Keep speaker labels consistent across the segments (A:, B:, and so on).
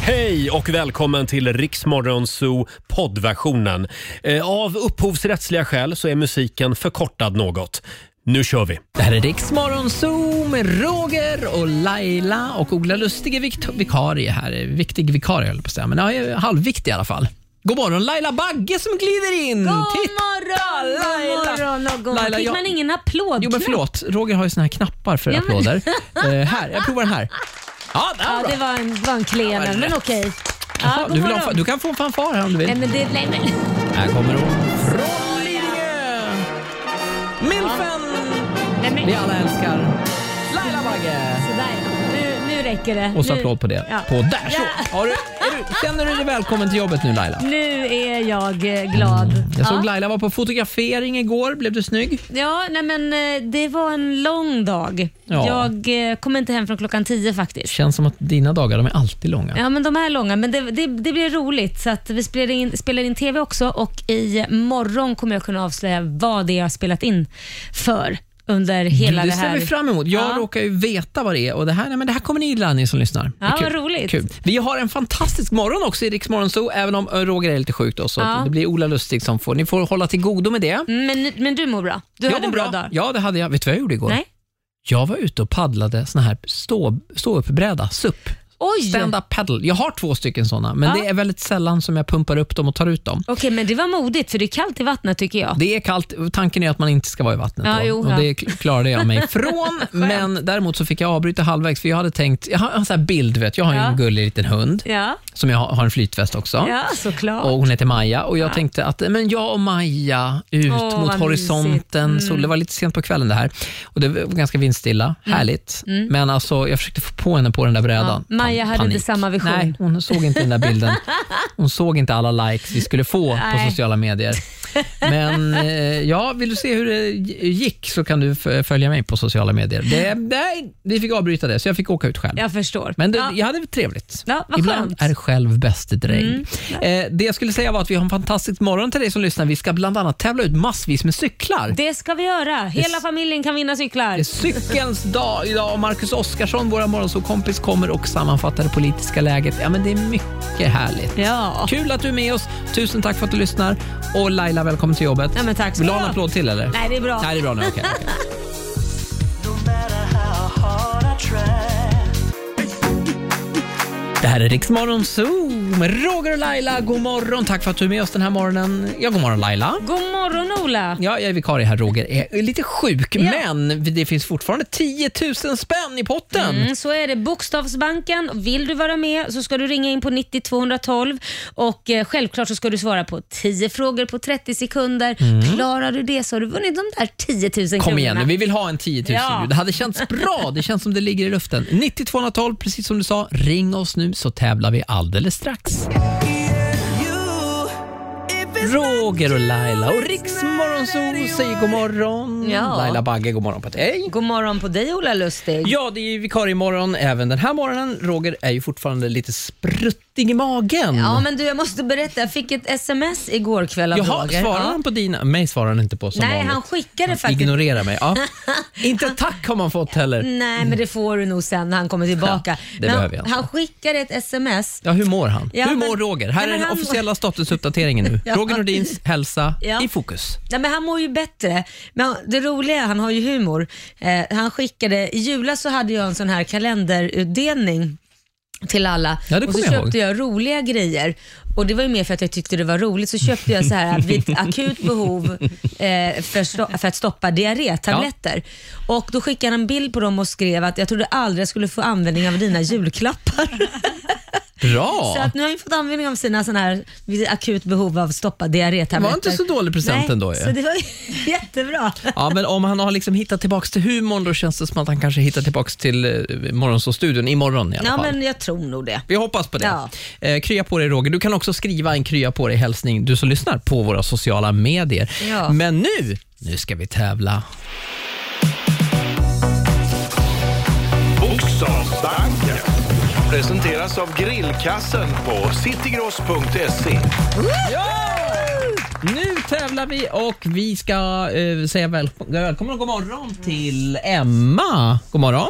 A: Hej och välkommen till Riksmorgon Zoo poddversionen. Eh, Av upphovsrättsliga skäl så är musiken förkortad något. Nu kör vi!
B: Det här är Riksmorgon Zoo med Roger och Laila och Ola Lustig är vikt- vikarie här. Viktig vikarie höll jag på att säga, men ja, jag är halvviktig i alla fall. God morgon Laila Bagge som glider in!
C: God
B: Titt-
C: morgon,
B: Laila.
C: god morgon och god morgon.
B: Laila,
C: Fick
B: jag-
C: man ingen applåd?
B: Jo men förlåt, Roger har ju såna här knappar för
C: Ja, men-
B: applåder. Eh, här, jag provar den här. Ja, det
C: Ja,
B: var
C: det
B: bra.
C: var en, det var en
B: Ja,
C: klen,
B: men
C: men
B: rätt.
C: okej. Ja,
B: Jaha,
C: god
B: Du, vill ha,
C: morgon.
B: fa- du kan få en fanfar här om du vill.
C: Nej, men det, nej, men.
B: Här kommer hon. Från Lidingö! Milfen!
C: Nej, men.
B: Vi alla älskar Laila Bagge!
C: Sådär, nu, nu räcker det.
B: Och så
C: Nu-
B: applåd på det.
C: Ja.
B: På där så!
C: Ja.
B: Har du, är du, känner du dig välkommen till jobbet nu Laila?
C: Nu är jag eh, glad.
B: Mm, Jag såg
C: ja.
B: Laila var på fotografering igår. Blev du snygg?
C: ja, nej men eh, det var en lång dag.
B: Ja.
C: Jag eh, kom inte hem från klockan tio faktiskt.
B: Känns som att dina dagar de är alltid långa.
C: Ja, men de är långa, men det, det, det blir roligt. Så att vi spelar in, spelar in TV också och i morgon kommer jag kunna avslöja vad det är jag har spelat in för under hela
B: du,
C: det,
B: det ser
C: här.
B: vi fram emot. Jag
C: Ja.
B: råkar ju veta vad det är och det här, nej, men det här kommer ni gilla ni som lyssnar. Det är
C: Ja, vad
B: kul.
C: roligt.
B: Kul. Vi har en fantastisk morgon också i Rix Morgon Zoo, även om ö, Roger är lite sjuk. Då, så
C: Ja.
B: att det blir Ola Lustig som får. Ni får hålla till godo med det.
C: Mm, Men, men du mår bra? Du
B: Jag
C: hade en
B: mår
C: bra, dag?
B: Ja, det hade jag. Vet du vad jag gjorde igår?
C: Nej?
B: Jag var ute och paddlade sån här stå, ståuppbräda, SUP.
C: Oj!
B: Stand-up paddle. Jag har två stycken såna, men
C: Ja.
B: det är väldigt sällan som jag pumpar upp dem och tar ut dem.
C: Okej, men det var modigt för det är kallt i vattnet tycker jag.
B: Det är kallt. Tanken är att man inte ska vara i vattnet.
C: Ja,
B: då.
C: jo, ja.
B: Och det kl- klarade jag mig från. men däremot så fick jag avbryta halvvägs för jag hade tänkt, jag har en sån här bild, vet, jag har ju
C: Ja.
B: en gullig liten hund
C: Ja,
B: som jag har har en flytväst också.
C: ja såklart.
B: Och hon heter Maja och jag tänkte att men jag och Maja ut
C: Åh,
B: mot
C: vad
B: horisonten.
C: mysigt.
B: Sol, det var lite sent på kvällen det här och det var ganska vindstilla. Härligt. Men alltså, jag försökte få på henne på den där brädan.
C: Mm. Ja, Maja
B: Pan-
C: hade inte samma vision.
B: Nej, hon såg inte den där bilden. Hon såg inte alla likes vi skulle få på
C: Nej.
B: sociala medier. Men eh, ja, vill du se hur det gick så kan du f- följa mig på sociala medier. Det, nej, vi fick avbryta det så jag fick åka ut själv.
C: Jag förstår.
B: Men det,
C: ja.
B: jag hade det trevligt.
C: Ja, vad
B: Ibland
C: skönt. Mm.
B: är själv bäste dräng. Eh, det jag skulle säga var att vi har en fantastisk morgon till dig som lyssnar. Vi ska bland annat tävla ut massvis med cyklar. Det
C: Det ska vi göra. Hela familjen kan vinna cyklar.
B: är cykelns dag idag och Marcus Oskarsson, vår morgonsåkompis, kommer och sammanfattar det politiska läget. Ja, men det är mycket härligt.
C: Ja.
B: Kul att du är med oss. Tusen tack för att du lyssnar. Och Laila, välkommen till jobbet.
C: Ja, men tack så
B: Vill du ha en
C: bra.
B: applåd till eller?
C: Nej, det är bra.
B: Nej, det är bra nu. Okej, okej.
D: No matter how hard I try.
B: Det här är Riksmorgon Zoo med Roger och Laila. God morgon. Tack för att du är med oss den här morgonen. Ja, god morgon Laila.
C: God morgon Ola.
B: Ja, jag är vikarie här. Roger är lite sjuk,
C: Ja.
B: men det finns fortfarande 10 000 spänn i potten.
C: Mm, så är det. Bokstavsbanken. Vill du vara med så ska du ringa in på 90 212 och eh, självklart så ska du svara på 10 frågor på 30 sekunder. Klarar du det så har du vunnit de där 10 000 kronorna.
B: Mm. Kom igen nu, vi vill ha en 10 000
C: Ja.
B: ju. Det hade känts bra. Det känns som det ligger i luften. 90 212, precis som du sa. Ring oss nu så tävlar vi alldeles strax. Roger och Laila och Riksmorgonzoo säger god morgon.
C: Ja.
B: Laila Bagge, god morgon på dig.
C: God morgon på dig Ola Lustig.
B: Ja, det är ju vikariemorgon även den här morgonen. Roger är ju fortfarande lite spruttig i magen.
C: Ja, men du, jag måste berätta. Jag fick ett sms igår kväll av
B: Jaha,
C: Roger.
B: svarar
C: Ja.
B: han på dina? Mig svarar han inte på som
C: Nej,
B: vanligt.
C: han skickade faktiskt.
B: Ignorera mig. Ja. inte ett tack har man fått heller.
C: Nej, men det får du nog sen när han kommer tillbaka.
B: Ja, det
C: men
B: behöver jag inte.
C: han skickade ett sms.
B: Ja, hur mår han?
C: Ja,
B: hur
C: men-
B: mår Roger? Här
C: Nej,
B: är
C: men
B: den
C: han-
B: officiella statusuppdateringen nu.
C: Ja.
B: Roger Nordins hälsa
C: Ja.
B: i fokus.
C: Nej, men han mår ju bättre. Men det roliga är, han har ju humor. Eh, han skickade, i julas så hade jag en sån här kalenderutdelning till alla
B: Ja, det
C: och så
B: kommer jag
C: köpte jag roliga grejer. Och Det var ju mer för att jag tyckte det var roligt, så köpte jag så här att vid ett akut behov eh, för, sto- för att stoppa diarrétabletter. Och Då skickade han en bild på dem och skrev att jag trodde aldrig jag skulle få användning av dina julklappar. Så
B: Bra!
C: att nu har han ju fått användning av sina sådana här vid akut behov av stoppa diarrétabletter.
B: Var inte så dålig present
C: Nej,
B: ändå ju.
C: Så det var ju jättebra.
B: Ja, men om han har liksom hittat tillbaka till humorn då känns det som att han kanske hittar tillbaka till eh, Morgonzoo-studion imorgon i alla
C: Ja,
B: fall.
C: men jag tror nog det.
B: Vi hoppas på det.
C: Ja.
B: Eh, krya på dig Roger. Du kan också skriva en krya på dig-hälsning, du som lyssnar, på våra sociala medier.
C: Ja.
B: Men nu, nu ska vi tävla.
E: Bokstavsbanken presenteras av grillkassen på citygross.se.
B: Nu tävlar vi och vi ska eh, säga väl, välkommen och god morgon till Emma. God morgon.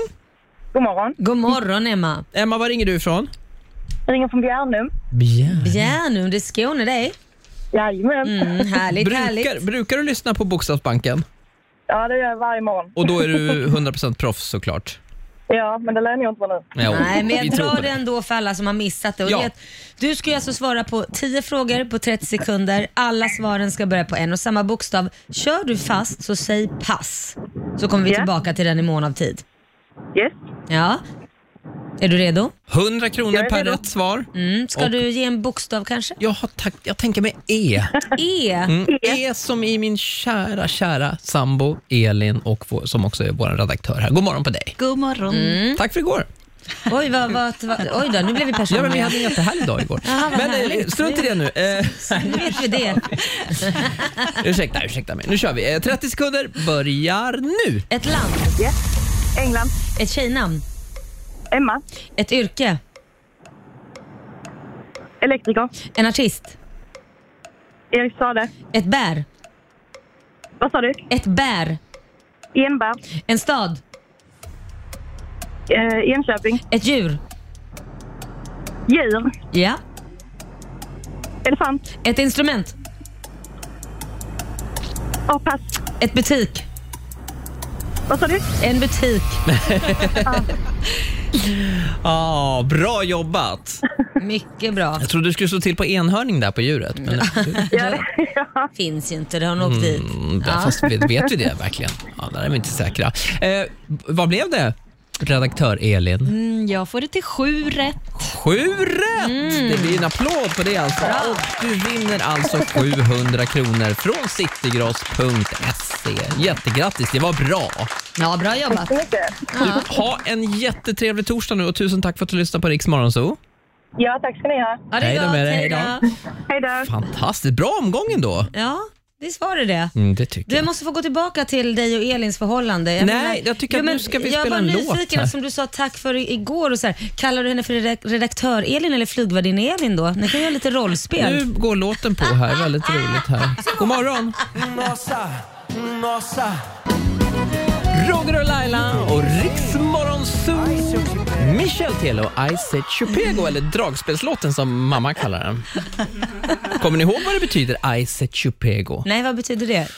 F: God morgon.
C: God morgon Emma.
B: Emma, var ringer du ifrån?
F: Jag ringer från Bjärnum.
B: Bjär.
C: Bjärnum, det är Skåne dig.
F: Jajamän.
C: Mm, härligt, härligt.
B: Brukar, brukar du lyssna på Bokstavsbanken?
F: Ja, det gör jag varje morgon.
B: Och då är du 100% proffs såklart.
F: Ja, men det lär ni inte vara nu.
B: Ja,
C: Nej, men
B: vi
C: jag
B: tror på
C: drar
B: det.
C: den då för alla som har missat det. Och
B: Ja.
C: det är att du ska ju alltså svara på 10 frågor på 30 sekunder. Alla svaren ska börja på en och samma bokstav. Kör du fast så säg pass. Så kommer vi
F: Ja.
C: tillbaka till den i mån av tid.
F: Yes.
C: Ja. Är du redo?
B: 100 kronor
F: Jag är
B: per
F: redo.
B: rätt svar.
C: Mm. Ska
B: Och-
C: du ge en bokstav kanske?
B: Jag, har tack, jag tänker mig E.
C: E.
B: Mm, e som i min kära, kära sambo Elin och vår, som också är vår redaktör här. God morgon på dig.
G: God morgon.
B: Tack för igår.
C: Oj, vad, vad, vad, oj då,
B: Ja,
C: nu blev vi
B: men vi
C: personliga.
B: hade en jättehärlig dag igår.
C: Ja, vad
B: men eh,
C: härligt.
B: strunt i det nu. Eh,
C: Nu vet vi det.
B: ursäkta, ursäkta mig. Nu kör vi. Eh, 30 sekunder börjar nu.
C: Ett land,
F: England.
C: ett tjejnamn,
F: Emma.
C: ett yrke,
F: Elektriker.
C: en artist,
F: Erik Sade.
C: ett bär,
F: Vad sa du?
C: ett bär,
F: Enberg.
C: en stad,
F: Eh, Enköping.
C: ett djur,
F: Djur.
C: ja,
F: Elefant.
C: ett instrument,
F: Ja, pass.
C: ett butik,
F: Vad sa du?
C: en butik.
B: Ah, bra jobbat.
C: Mycket bra.
B: Jag trodde du skulle slå till på enhörning där på djuret. Men,
F: Ja.
C: Finns ju inte, det har nog åkt dit.
B: mm, ja. Fast vet, vet vi det verkligen? Ja, där är vi inte säkra. Eh, vad blev det? Redaktör Elin.
G: Mm, jag får det till sju rätt.
B: Sju rätt!
C: Mm.
B: Det blir en applåd på det alltså. Och du vinner alltså 700 kronor från citygross.se. E. Jättegrattis, det var bra.
C: Ja, bra jobbat.
F: Så mycket.
B: Du, ha en jättetrevlig torsdag nu och tusen tack för att du lyssnade på Rix Morgonzoo.
F: Ja, tack ska ni ha.
C: Ja, det
B: Hej
C: är
B: då
C: gott.
B: med dig.
C: Hej då.
F: Hej då.
B: Fantastiskt, bra omgång ändå.
C: Ja, visst var det det.
B: Mm, det tycker
C: Du, jag
B: jag.
C: måste få gå tillbaka till dig och Elins förhållande. Jag
B: Nej, jag tycker att nu ska vi spela en
C: Jag
B: låt
C: var nyfiken
B: här.
C: eftersom du sa tack för i- igår och så här. Kallar du henne för redak- redaktör-Elin eller flygvärdinne-Elin då? Ni kan göra lite rollspel.
B: Nu går låten på här, väldigt roligt här. God morgon!
D: Nossa, nossa.
B: Roger och Laila och Riksmorgon Zoo. Michel Telo och Isaac Chupego, eller dragspelslåten som mamma kallar den. Kommer ni ihåg vad det betyder, Isaac Chupego?
C: Nej, vad betyder det?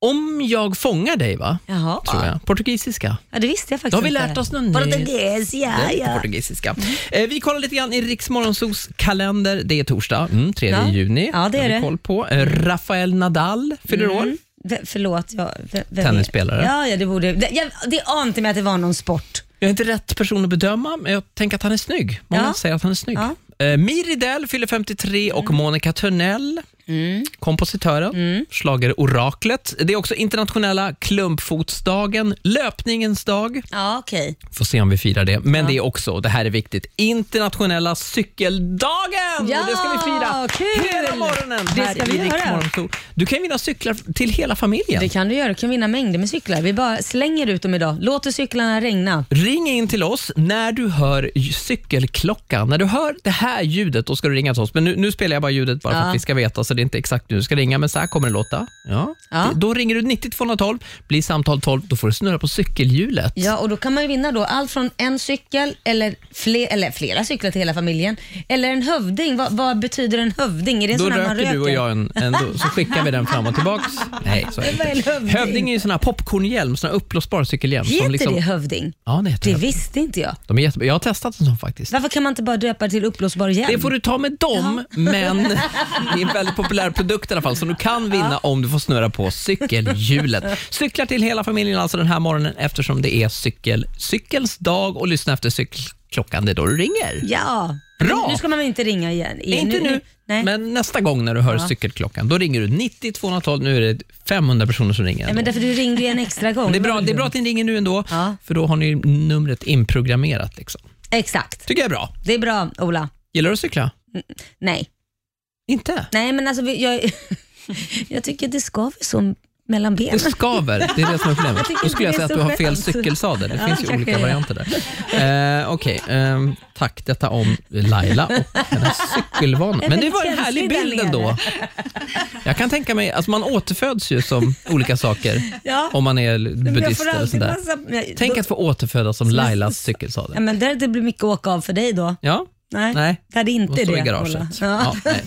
B: Om jag fångar dig, va?
C: Jaha.
B: Tror jag. Portugisiska.
C: Ja, det visste jag faktiskt
B: Då har vi
C: inte.
B: lärt oss något nytt.
C: Portugis, ja,
B: Det är
C: ja.
B: Portugisiska. Eh, vi kollar lite grann i Riksmorgonsos kalender. Det är torsdag, mm, 3
C: Ja.
B: juni.
C: Ja, det är
B: har vi
C: det. Mm.
B: Koll på. Eh, Rafael Nadal fyller år.
C: V- förlåt, jag... v- vem är-
B: Tennisspelare.
C: Ja, ja, det borde... Det, jag, det ante mig att det var någon sport.
B: Jag är inte rätt person att bedöma, men jag tänker att han är snygg. Många
C: Ja.
B: säger att han är snygg.
C: Ja. Mm.
B: Eh, Miri Dell fyller 53 och Monica Törnell, kompositören, mm. oraklet Det är också internationella klumpfotsdagen, löpningens dag.
C: Ja, okej.
B: Får se om vi firar det. Men det är också, det här är viktigt, internationella cykeldagen!
C: Ja,
B: och det ska vi fira
C: kul!
B: hela morgonen
C: Det
B: här
C: ska vi
B: i Rix
C: göra.
B: Morgonzoo. Du kan vinna cyklar till hela
C: Det
B: familjen.
C: kan du göra. Du kan vinna mängder med cyklar. Vi bara slänger ut dem idag. Låter cyklarna regna.
B: Ring in till oss när du hör j- cykelklockan. När du hör det här ljudet, då ska du ringa till oss. Men nu, nu spelar jag bara ljudet bara för
C: Ja.
B: att vi ska veta, så det är inte exakt nu du ska ringa, men så här kommer det låta. Ja.
C: Ja.
B: Då ringer du 90 212, blir samtal 12, då får du snurra på cykelhjulet.
C: Ja, och då kan man ju vinna då allt från en cykel eller, fler, eller flera cyklar till hela familjen. Eller en hövding. Vad, vad betyder en hövding? Är det en
B: Då
C: sån här
B: röker,
C: man röker
B: du och jag en, en då, så skickar vi den fram och tillbaks. Nej, så är
C: Vad är
B: det
C: en
B: inte.
C: hövding?
B: Hövding är ju sån här popcornhjälm, sån här uppblåsbar cykelhjälm.
C: Heter
B: som liksom,
C: det hövding?
B: Ja, det heter
C: Det
B: det.
C: visste inte jag.
B: De är jättebra. Jag har testat en sån faktiskt.
C: Varför kan man inte bara döpa det till uppblåsbar hjälm?
B: Det får du ta med dem, men det är en väldigt populär produkt i alla fall som du kan vinna om du får snurra på cykelhjulet. Cyklar till hela familjen alltså den här morgonen eftersom det är cykel, cykelns dag och lyssna efter cykelklockan, det är då du ringer.
C: Ja.
B: Bra!
C: Nu ska man väl inte ringa igen? igen.
B: Inte nu,
C: Nej. Men...
B: men nästa gång när du hör cykelklockan, då ringer du 90 212. Nu är det 500 personer som ringer.
C: Nej, men
B: ändå.
C: därför du ringde ju en extra gång.
B: Men det, är bra, det är bra att ni ringer nu ändå,
C: Ja.
B: för då har ni numret inprogrammerat. Liksom.
C: Exakt.
B: tycker jag är bra.
C: Det är bra, Ola.
B: Gillar du att cykla?
C: Nej.
B: Inte?
C: Nej, men alltså vi- jag, jag tycker det skaver så mellan benen.
B: Det skaver, det är det som är problemet.
C: tycker
B: Då skulle jag
C: inte
B: säga
C: det
B: att
C: är
B: du
C: så
B: har fel
C: skönt.
B: cykelsadel. Det
C: Ja,
B: finns ju
C: kanske
B: olika
C: det.
B: varianter där. Eh, Okej, ehm, tack. Detta om Laila och hennes cykelvanor. Men det
C: är väldigt
B: var en härlig
C: känslig där
B: bild ändå.
C: nere.
B: Jag kan tänka mig, alltså man återföds ju som olika saker
C: Ja.
B: om man är
C: Men jag
B: buddhist
C: får
B: eller
C: alltid
B: sådär.
C: massa- jag-
B: Tänk
C: då-
B: att få återfödas som Lailas
C: Ja,
B: cykelsadel.
C: men det, det blir mycket åka av för dig då.
B: Ja,
C: Nej,
B: Nej.
C: det hade
B: De
C: inte
B: står
C: det.
B: i
C: Ola.
B: garaget.
C: Ja.
B: Ja, nej.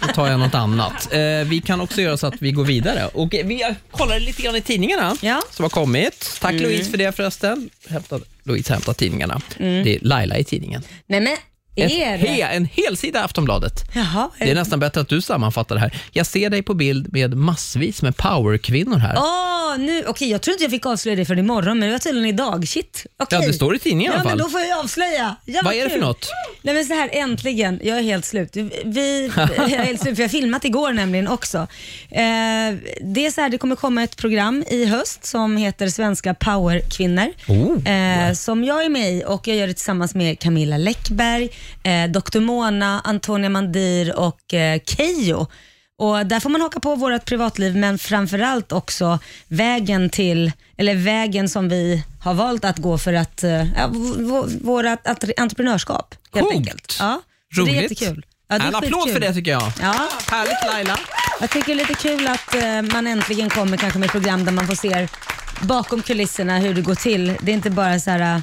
B: Då tar jag något annat. Eh, vi kan också göra så att vi går vidare. Och eh, vi kollade lite grann i tidningarna
C: Ja. Mm.
B: som har kommit. Tack Louise för det förresten. Hämtade, Louise hämtar tidningarna. Det är Laila i tidningen.
C: Nej men,
B: En,
C: är Mm. det? Eh.
B: he, en hel sida i Aftonbladet.
C: Jaha.
B: Det är nästan bättre att du sammanfattar det här. Jag ser dig på bild med massvis med powerkvinnor här.
C: Åh, nu, okej, jag trodde inte jag fick avslöja det förrän imorgon, men det var tydligen idag. Shit. Okej.
B: Ja, det står i tidningen i alla
C: Ja,
B: fall.
C: men då får jag avslöja. Ja,
B: Vad är det för
C: kul.
B: något?
C: Nej, men så här, äntligen. Jag är helt slut. Vi, jag är helt slut, för jag har filmat igår nämligen också. Eh, det är så här, det kommer komma ett program i höst som heter Svenska powerkvinnor.
B: Oh.
C: Eh, som jag är med i och jag gör det tillsammans med Camilla Läckberg, eh, Dr Mona, Antonia Mandir och eh, Keyyo. Och där får man haka på vårt privatliv men framförallt också vägen till, eller vägen som vi har valt att gå för att, eh, ja, vårt entreprenörskap helt
B: Coolt.
C: enkelt. Ja, så
B: Roligt.
C: Det är jättekul. Ja, det är
B: en applåd
C: skitkul.
B: för det tycker jag.
C: Ja.
B: Härligt Laila.
C: Jag tycker det är lite kul att eh, man äntligen kommer kanske med program där man får se bakom kulisserna hur det går till. Det är inte bara så här, eh,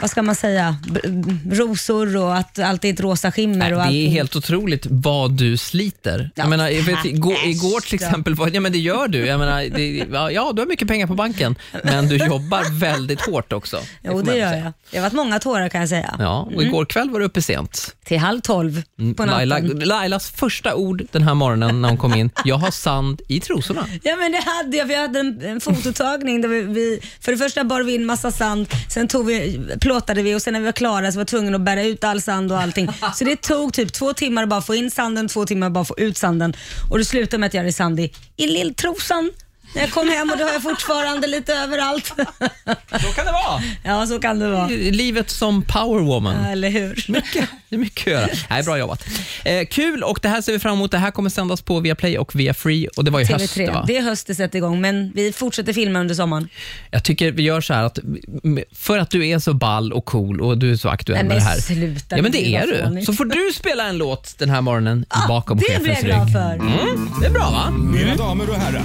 C: vad ska man säga, b- b- rosor och att allt är ett rosa skimmer.
B: Nej,
C: och
B: det är
C: allting.
B: helt otroligt vad du sliter. Jag
C: Ja,
B: menar, jag vet,
C: tack.
B: igår, igår till
C: Ja.
B: exempel, var, ja, men det gör du. Jag menar, det, ja, du har mycket pengar på banken, men du jobbar väldigt hårt också. Det
C: Jo,
B: får man
C: det
B: ändå
C: gör
B: säga.
C: jag. Det har varit många tårar kan jag säga.
B: Ja, och igår kväll var du uppe sent.
C: Till halv tolv på natten.
B: Laila, Lailas första ord den här morgonen när hon kom in, jag har sand i trosorna.
C: Ja men det hade jag. Vi hade en, en fototagning där vi, vi, för det första bar vi in massa sand, sen tog vi, plåtade vi och sen när vi var klara så var vi tvungna att bära ut all sand och allting. Så det tog typ två timmar att bara få in sanden, två timmar att bara få ut sanden. Och det slutade med att jag hade sand i, i lilltrosan. När jag kom hem och det har jag fortfarande lite överallt.
B: Så kan det vara.
C: Ja, så kan det vara.
B: Livet som powerwoman.
C: Eller hur?
B: Mycket, det är mycket att göra. Nej, bra jobbat. Eh, kul och det här ser vi fram emot. Det här kommer sändas på via Play och via Free och det var ju höst va?
C: TV3. Det är höst det sätter igång, men vi fortsätter filma under sommaren.
B: Jag tycker vi gör så här att m- för att du är så ball och cool och du är så aktuell
C: Nej,
B: med
C: men
B: det här.
C: sluta,
B: ja men
C: det
B: det
C: är
B: är
C: bara
B: du.
C: fånigt.
B: Så får du spela en låt den här morgonen i bakom
C: Ah, det blir
B: chefens
C: jag glad
B: rygg.
C: för.
B: Mm, det är bra va?
H: Mina damer och herrar,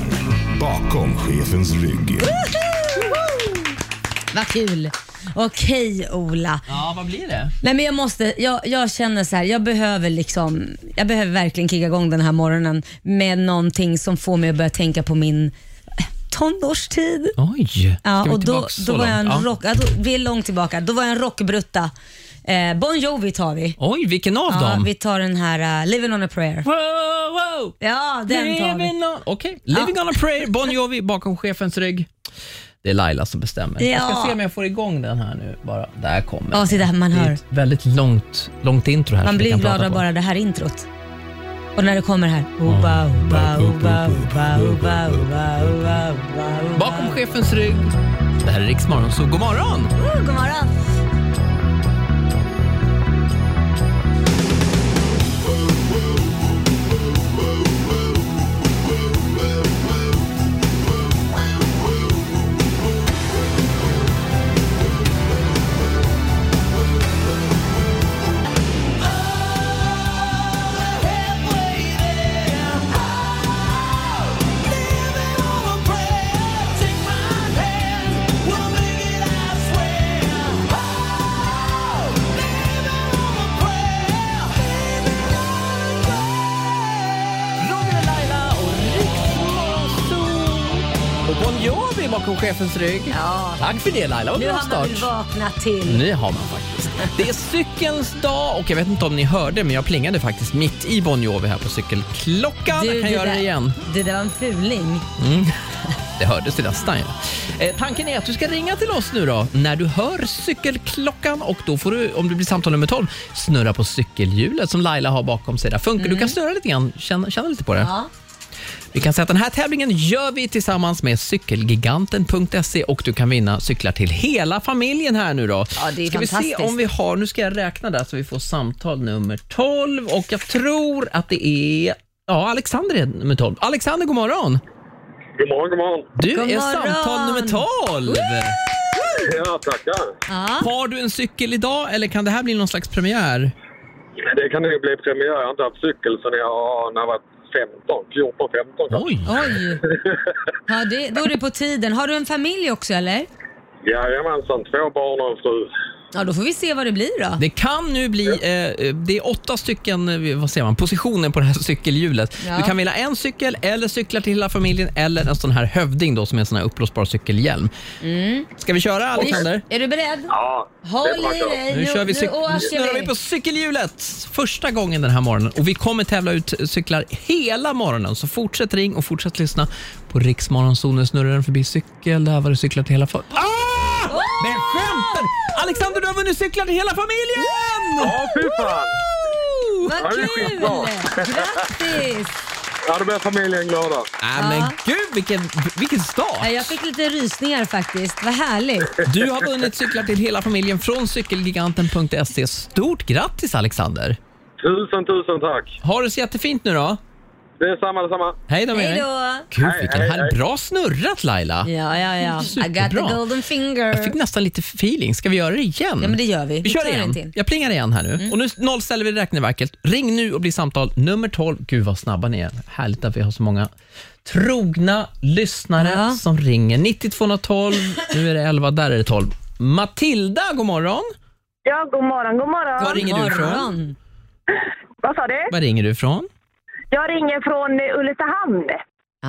H: bakom chefens rygg.
C: Vad kul. Okej Ola.
B: Ja, vad blir det?
C: Nej men jag måste, jag, jag känner så här, jag behöver liksom, jag behöver verkligen kicka igång den här morgonen med någonting som får mig att börja tänka på min eh, tonårstid.
B: Oj, ska
C: Ja,
B: vi
C: och då,
B: tillbaka så
C: då var jag en
B: långt? Ja.
C: rock, ja, då, vi är långt tillbaka, då var jag en rockbrutta. Eh, bon Jovi tar vi.
B: Oj, vilken av
C: Ja,
B: dem?
C: vi tar den här uh, Living on a prayer.
B: Wow, wow.
C: Ja, den tar vi.
B: Living on, okay. Living on a prayer, Bon Jovi bakom chefens rygg. Det är Laila som bestämmer. Jag ska
C: Ja.
B: se om jag får igång den här nu. Bara. Där kommer
C: Ja,
B: den.
C: titta man
B: Det är
C: hör.
B: ett väldigt långt, långt intro här. som
C: Man
B: vi
C: blir
B: kan
C: glad
B: prata
C: av
B: på.
C: bara det här introt. Och när det kommer här. Oba, oba, oba, oba, oba, oba, oba, oba, oba.
B: Bakom chefens rygg. Det här är Riksmorgon, så god morgon!
C: God morgon.
B: Roger och Laila och Riksmorgon, så- och Bon Jovi bakom chefens rygg.
C: Ja.
B: Tack för det Laila, vad
C: Nu
B: bra
C: har man
B: start.
C: väl vaknat till.
B: Nu har man faktiskt. Det är cykelns dag och jag vet inte om ni hörde men jag plingade faktiskt mitt i Bon Jovi här på cykelklockan. jag kan göra
C: där,
B: det igen.
C: Det där var en fuling.
B: Det hördes nästan ju. Eh, tanken är att du ska ringa till oss nu då när du hör cykelklockan och då får du, om du blir samtal nummer 12, snurra på cykelhjulet som Laila har bakom sig. Där funkar. Du kan snurra lite grann, känna, känna lite på det.
C: Mm. Ja.
B: Vi kan säga att den här tävlingen gör vi tillsammans med cykelgiganten.se och du kan vinna cyklar till hela familjen här nu då.
C: Ja, det är
B: ska vi se
C: fantastiskt.
B: om vi har, nu ska jag räkna där så vi får samtal nummer 12 och jag tror att det är Ja, Alexander är nummer 12. Alexander, god morgon!
I: God morgon, god morgon.
B: Du
C: God
B: är
C: morgon.
B: samtal nummer 12!
I: Ja, tackar.
C: Ja.
B: Har du en cykel idag eller kan det här bli någon slags premiär?
C: Mm.
I: Det kan ju bli premiär. Jag har inte haft cykel sedan jag var- när jag var 15, 14, 15 kanske.
B: Oj!
C: Oj. Ja, det, då är det på tiden. Har du en familj också eller?
I: Jajamensan, två barn och en fru.
C: Ja, då får vi se vad det blir då.
B: Det kan nu bli, eh, det är åtta stycken eh, vad säger man, positioner på det här cykelhjulet.
C: Ja.
B: Du kan välja en cykel eller cyklar till hela familjen eller en sån här hövding då, som är en sån här uppblåsbar cykelhjälm.
C: Mm.
B: Ska vi köra Alexander?
C: Är du beredd?
I: Ja,
C: Håll
I: det är bara
C: i
I: att köra.
C: dig.
B: Nu, kör vi
C: nu
B: cyk- nu
C: åker
B: snurrar vi på cykelhjulet första gången den här morgonen och vi kommer tävla ut cyklar hela morgonen. Så fortsätt ring och fortsätt lyssna på Riksmorgonzoo. Nu snurrar den förbi cykel. Där var det cyklar till hela familjen. Ah! Men skämtar Alexander, du har vunnit cyklar till hela familjen!
I: Ja, fy fan!
C: Vad
I: Ja, det är
C: kul!
I: skitbra.
C: Grattis!
I: Ja, då blir familjen glada.
B: Nej men gud vilken, vilken start!
C: Ja, Jag fick lite rysningar faktiskt. Vad härligt.
B: Du har vunnit cyklar till hela familjen från cykelgiganten.se. Stort grattis Alexander!
I: Tusen, tusen tack.
B: Ha det så jättefint nu då!
I: Det är samma, detsamma.
B: Hej då med
C: Hej
B: dig!
C: då!
B: Gud
I: Hej,
B: vilken
I: hej,
B: här
I: hej.
B: bra snurrat Laila!
C: Ja, ja, ja. I got
B: Superbra.
C: the golden
B: Jag
C: finger.
B: fick nästan lite feeling. Ska vi göra det igen?
C: Ja, men det gör vi.
B: Vi kör
C: tar en
B: igen.
C: till. Mm.
B: Jag plingar igen här nu. Och nu nollställer vi räkneverket. Ring nu och bli samtal nummer 12. Gud vad snabba ni är. Härligt att vi har så många trogna lyssnare
C: Ja.
B: som ringer. 9212, nu är det 11, där är det 12. Matilda, god morgon.
F: Ja, god morgon, god
B: Var
F: morgon.
B: ringer du ifrån?
C: Morgon.
F: Vad sa du?
B: Var ringer du ifrån?
F: Jag ringer från eh, Ulricehamn.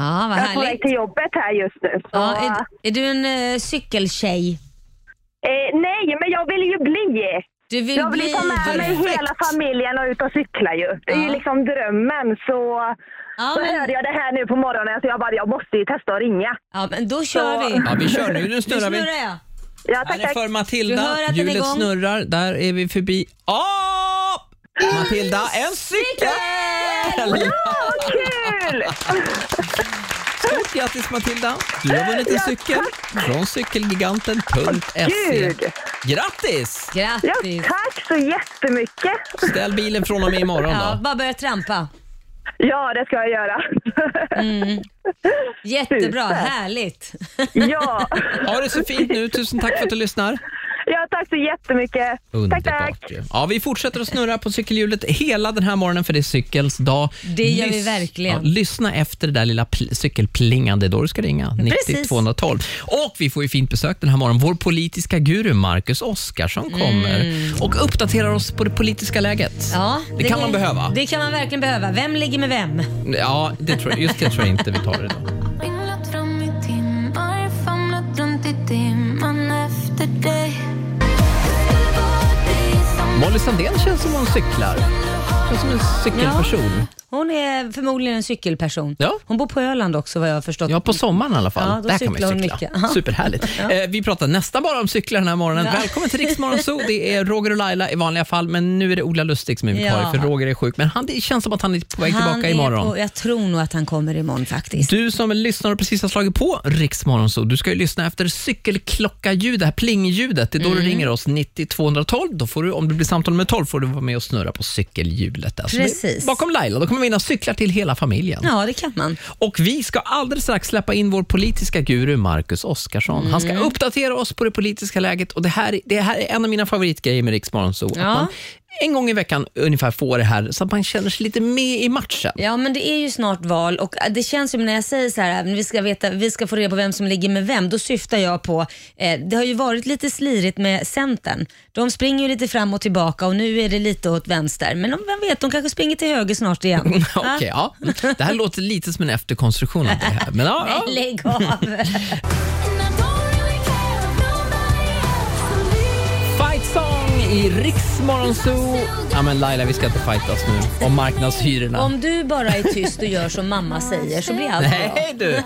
C: Ja, vad
F: Jag är
C: Ah,
F: på väg
C: härligt.
F: till jobbet här just nu. Så,
C: Ja, är, är du en eh, cykeltjej?
F: eh, nej, men jag vill ju bli.
C: Du vill
F: Jag vill ju
C: bli...
F: ta med mig
B: perfekt.
F: hela familjen och ut och cykla ju. Det är ju
C: Ja.
F: liksom drömmen. Så,
C: Ja,
F: så
C: men,
F: hörde jag det här nu på morgonen så jag bara, jag måste ju testa att ringa.
C: ja, men då kör
F: Så-
C: vi.
B: Ja, vi kör nu. Nu
C: Nu
B: snurrar vi.
C: snurrar jag.
F: Ja,
B: Här
F: tack,
B: är
F: tack.
B: för
C: Du
B: Matilda.
C: hör att den är
B: Hjulet
C: igång.
B: snurrar. Där är vi förbi. Oh! Matilda, en cykel!
F: Vad kul!
B: Stort grattis Matilda! Du har vunnit en cykel från cykelgiganten.se.
F: Gud!
B: Grattis!
F: Ja,
C: Grattis.
F: tack så jättemycket.
B: Ställ bilen från och med imorgon
C: Ja,
B: då.
C: bara börja trampa.
F: Ja, det ska jag göra.
C: Mm. Jättebra,
F: Super.
C: härligt.
F: ja.
B: Ha det så fint nu. Tusen tack för att du lyssnar.
F: ja, tack så jättemycket. Tack, tack.
B: Underbart ju. Ja, vi fortsätter att snurra på cykelhjulet hela den här morgonen för det är cykelns dag.
C: Det gör vi verkligen.
B: ja, lyssna efter det där lilla pl- cykelplingande då du ska ringa. 90
C: Precis.
B: 212. Och vi får ju fint besök den här morgonen. Vår politiska guru Marcus Oskarsson kommer och uppdaterar oss på det politiska läget.
C: Ja,
B: det, kan man behöva.
C: Det kan man verkligen behöva. Vem ligger med vem?
B: Ja, det tror jag, just det tror jag inte vi tar idag.
J: Vinglat fram i timmar, famlat runt i dimman efter dig Det var dig som
B: Molly Sandén känns som hon cyklar. Känns som en cykelperson.
C: Hon är förmodligen en cykelperson.
B: Ja.
C: Hon bor på Öland också vad jag har förstått.
B: Ja, på sommaren i alla fall.
C: Ja, då
B: Där kan man ju
C: cyklar hon
B: cykla.
C: mycket. Ja.
B: Superhärligt. Eh, vi pratar nästan bara om cyklar den här morgonen. Välkommen till Riksmorgon Zoo. Det är Roger och Laila i vanliga fall, men nu är det Ola Lustig som är vikarie,
C: Ja.
B: för Roger är sjuk. Men han, det känns som att han är på väg
C: Han
B: tillbaka
C: är
B: imorgon.
C: På, jag tror nog att han kommer imorgon faktiskt.
B: Du som lyssnar och precis har slagit på Riksmorgon Zoo, du ska ju lyssna efter cykelklocka-ljud, det här plingljudet. Det är då
C: Mm.
B: du ringer oss 90 212. Då får du, om du blir samtal nummer 12 får du vara med och snurra på cykelhjulet. där. Så det är
C: Precis.
B: Bakom Laila, då kommer vi vinna cyklar till hela familjen.
C: Ja, det kan man.
B: Och vi ska alldeles strax släppa in vår politiska guru Marcus Oskarsson. Han
C: Mm.
B: ska uppdatera oss på det politiska läget och det här, det här är en av mina favoritgrejer med Riksmorgon Zoo. Att
C: Ja.
B: man en gång i veckan ungefär får det här så att man känner sig lite med i matchen.
C: Ja, men det är ju snart val och äh, det känns ju när jag säger så här, äh, vi ska, veta, vi ska få reda på vem som ligger med vem, då syftar jag på, eh, det har ju varit lite slirigt med Centern. De springer ju lite fram och tillbaka och nu är det lite åt vänster, men om- vem vet, de kanske springer till höger snart igen.
B: Okej, ja. Det här låter lite som en efterkonstruktion av det här. Men ja,
C: Nej,
B: ja.
C: lägg av.
J: And I don't really care of nobody else So leave
B: Fight song i Riksmorgon Zoo. Ja, men Laila, vi ska inte fightas nu om marknadshyrorna.
C: Om du bara är tyst och gör som mamma säger så blir allt bra.
B: Nej du!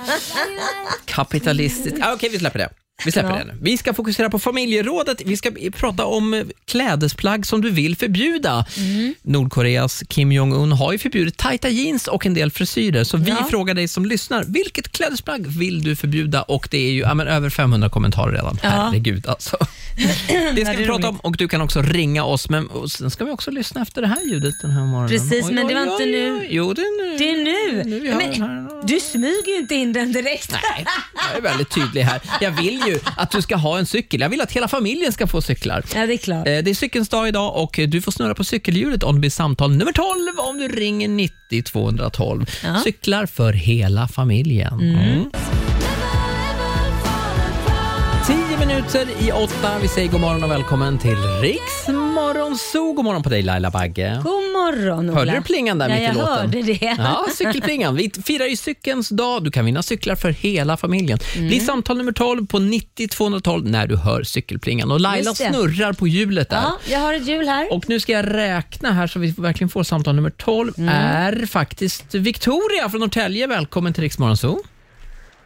B: Kapitalistiskt. Ah, Okej, vi släpper det. Vi släpper
C: Ja.
B: det nu. Vi ska fokusera på familjerådet. Vi ska i- prata om eh, klädesplagg som du vill förbjuda.
C: Mm.
B: Nordkoreas Kim Jong-Un har ju förbjudit tajta jeans och en del frisyrer. Så vi
C: Ja.
B: frågar dig som lyssnar, vilket klädesplagg vill du förbjuda? Och det är ju ja, men över 500 kommentarer redan. Herregud alltså. Det ska
C: det
B: vi
C: är
B: prata om
C: roligt.
B: och du kan också ringa oss. Men och sen ska vi också lyssna efter det här ljudet den här morgonen.
C: Precis, men det var inte nu.
B: Jo, det är nu.
C: Det är nu.
B: Nu vi har den här.
C: Men, du smyger ju inte in den direkt.
B: Nej, jag är väldigt tydlig här. Jag vill ju att du ska ha en cykel. Jag vill att hela familjen ska få cyklar.
C: Ja, det är klart.
B: Eh, Det är cykelns dag idag och eh, du får snurra på cykelhjulet om det blir samtal nummer 12 om du ringer 90 212. Cyklar för hela familjen. Mm.
J: Never ever fall apart
B: 10 minuter minuter i åtta. Vi säger god morgon och välkommen till Riks Morgonzoo. God morgon på dig Laila Bagge.
C: God morgon Ola.
B: Hörde du plingan där
C: ja,
B: mitt i låten?
C: jag hörde det.
B: Ja, cykelplingan. Vi firar ju cykelns dag. Du kan vinna cyklar för hela familjen.
C: Mm.
B: Bli samtal nummer 12 på 90 212 när du hör cykelplingan. Och Laila
C: Just det.
B: snurrar på hjulet där.
C: Ja, jag har ett hjul här.
B: Och nu ska jag räkna här så vi verkligen får samtal nummer 12.
C: Mm.
B: är faktiskt Victoria från Norrtälje. Välkommen till Rix Morgonzoo.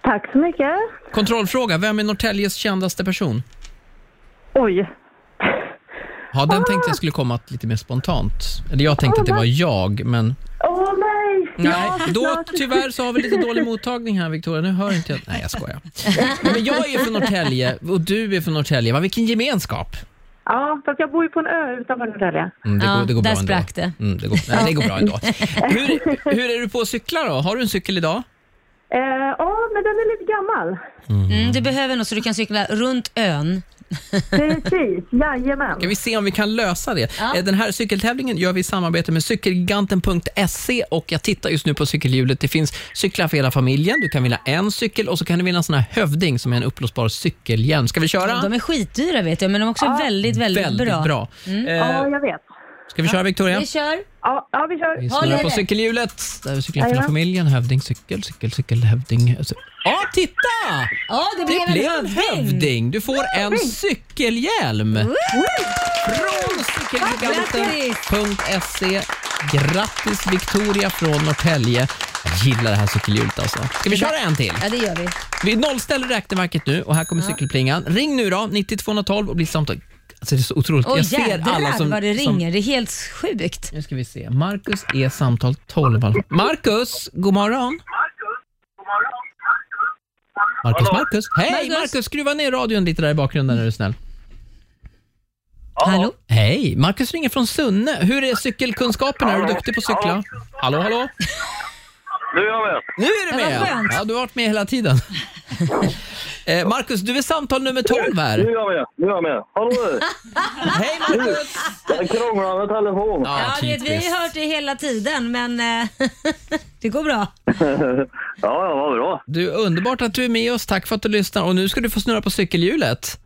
F: Tack så mycket.
B: Kontrollfråga, vem är Norrtäljes kändaste person?
F: Oj.
B: Ja, den tänkte jag skulle komma lite mer spontant. Eller jag tänkte att det var jag, men...
F: Åh nej!
B: Nej, då
F: såklart.
B: tyvärr så har vi lite dålig mottagning här Victoria. Nu hör inte jag. Nej, jag skojar. Nej, men jag är från Norrtälje och du är från Norrtälje. Va, vilken gemenskap!
F: Ja, fast jag bor ju på en ö utanför Norrtälje.
B: Mm, det,
C: Ja,
B: går, det går
C: där
B: bra ändå.
C: sprack det.
B: Mm, det, går, nej, det går bra ändå. Hur, hur är du på att cykla då? Har du en cykel idag?
F: Eh, Ja, men den är lite gammal.
C: Mm, du behöver något så du kan cykla runt ön.
F: Precis, jajamän.
B: Ska vi se om vi kan lösa det.
C: Ja.
B: Eh, Den här cykeltävlingen gör vi i samarbete med cykelgiganten.se och jag tittar just nu på cykelhjulet. Det finns cyklar för hela familjen. Du kan vinna en cykel och så kan du vinna en sån här hövding som är en uppblåsbar cykelhjälm. Ska vi köra?
C: De är skitdyra vet jag, men de är också väldigt, väldigt,
B: Väldigt bra.
C: bra. Mm.
F: Ja,
B: Eh,
F: jag vet.
B: ska vi köra Victoria?
C: Vi kör.
F: Ja, ja vi kör.
B: Vi
C: Håll
B: snurrar
C: i
B: på
C: det.
B: cykelhjulet. Där vi cyklar hela familjen. Hövding, cykel, cykel, cykel, hövding. cy- Ja, titta!
C: Ja, det blev
B: Det blev en
C: en hövding.
B: hövding. Du får en cykelhjälm. Från cykelgiganten.se. E. Grattis Victoria från Norrtälje. Jag gillar det här cykelhjulet alltså. Ska vi köra en till?
C: Ja, det gör vi.
B: Vi nollställer räkneverket nu och här kommer cykelplingan. Ring nu då, 9212 och bli samtal. Alltså det är så otroligt.
C: Åh
B: Jag ser
C: jädrar
B: alla som...
C: vad det
B: som
C: ringer. Det är helt sjukt.
B: nu ska vi se. Marcus är samtal 12. Marcus, god morgon. Marcus, Marcus. Hej
C: Marcus.
B: Marcus, skruva ner radion lite där i bakgrunden är du snäll.
C: Hallå?
B: Hej, Marcus ringer från Sunne. Hur är cykelkunskaperna? Är du duktig på att cykla? Hallå, hallå?
I: Nu är jag med.
B: Nu är du
C: Ja, vad
B: med!
C: skönt.
B: Ja, du har varit med hela tiden. Eh, Marcus, du är samtal nummer 12
I: Nu
B: här.
I: är jag med. Nu är jag med. Hallå du!
B: Hej Marcus!
I: Jag krånglar med telefon.
C: Ja, du vet, vi har ju hört det hela tiden, men eh, det går bra.
I: Ja, ja, vad bra.
B: Du, underbart att du är med oss. Tack för att du lyssnar. Och nu ska du få snurra på cykelhjulet.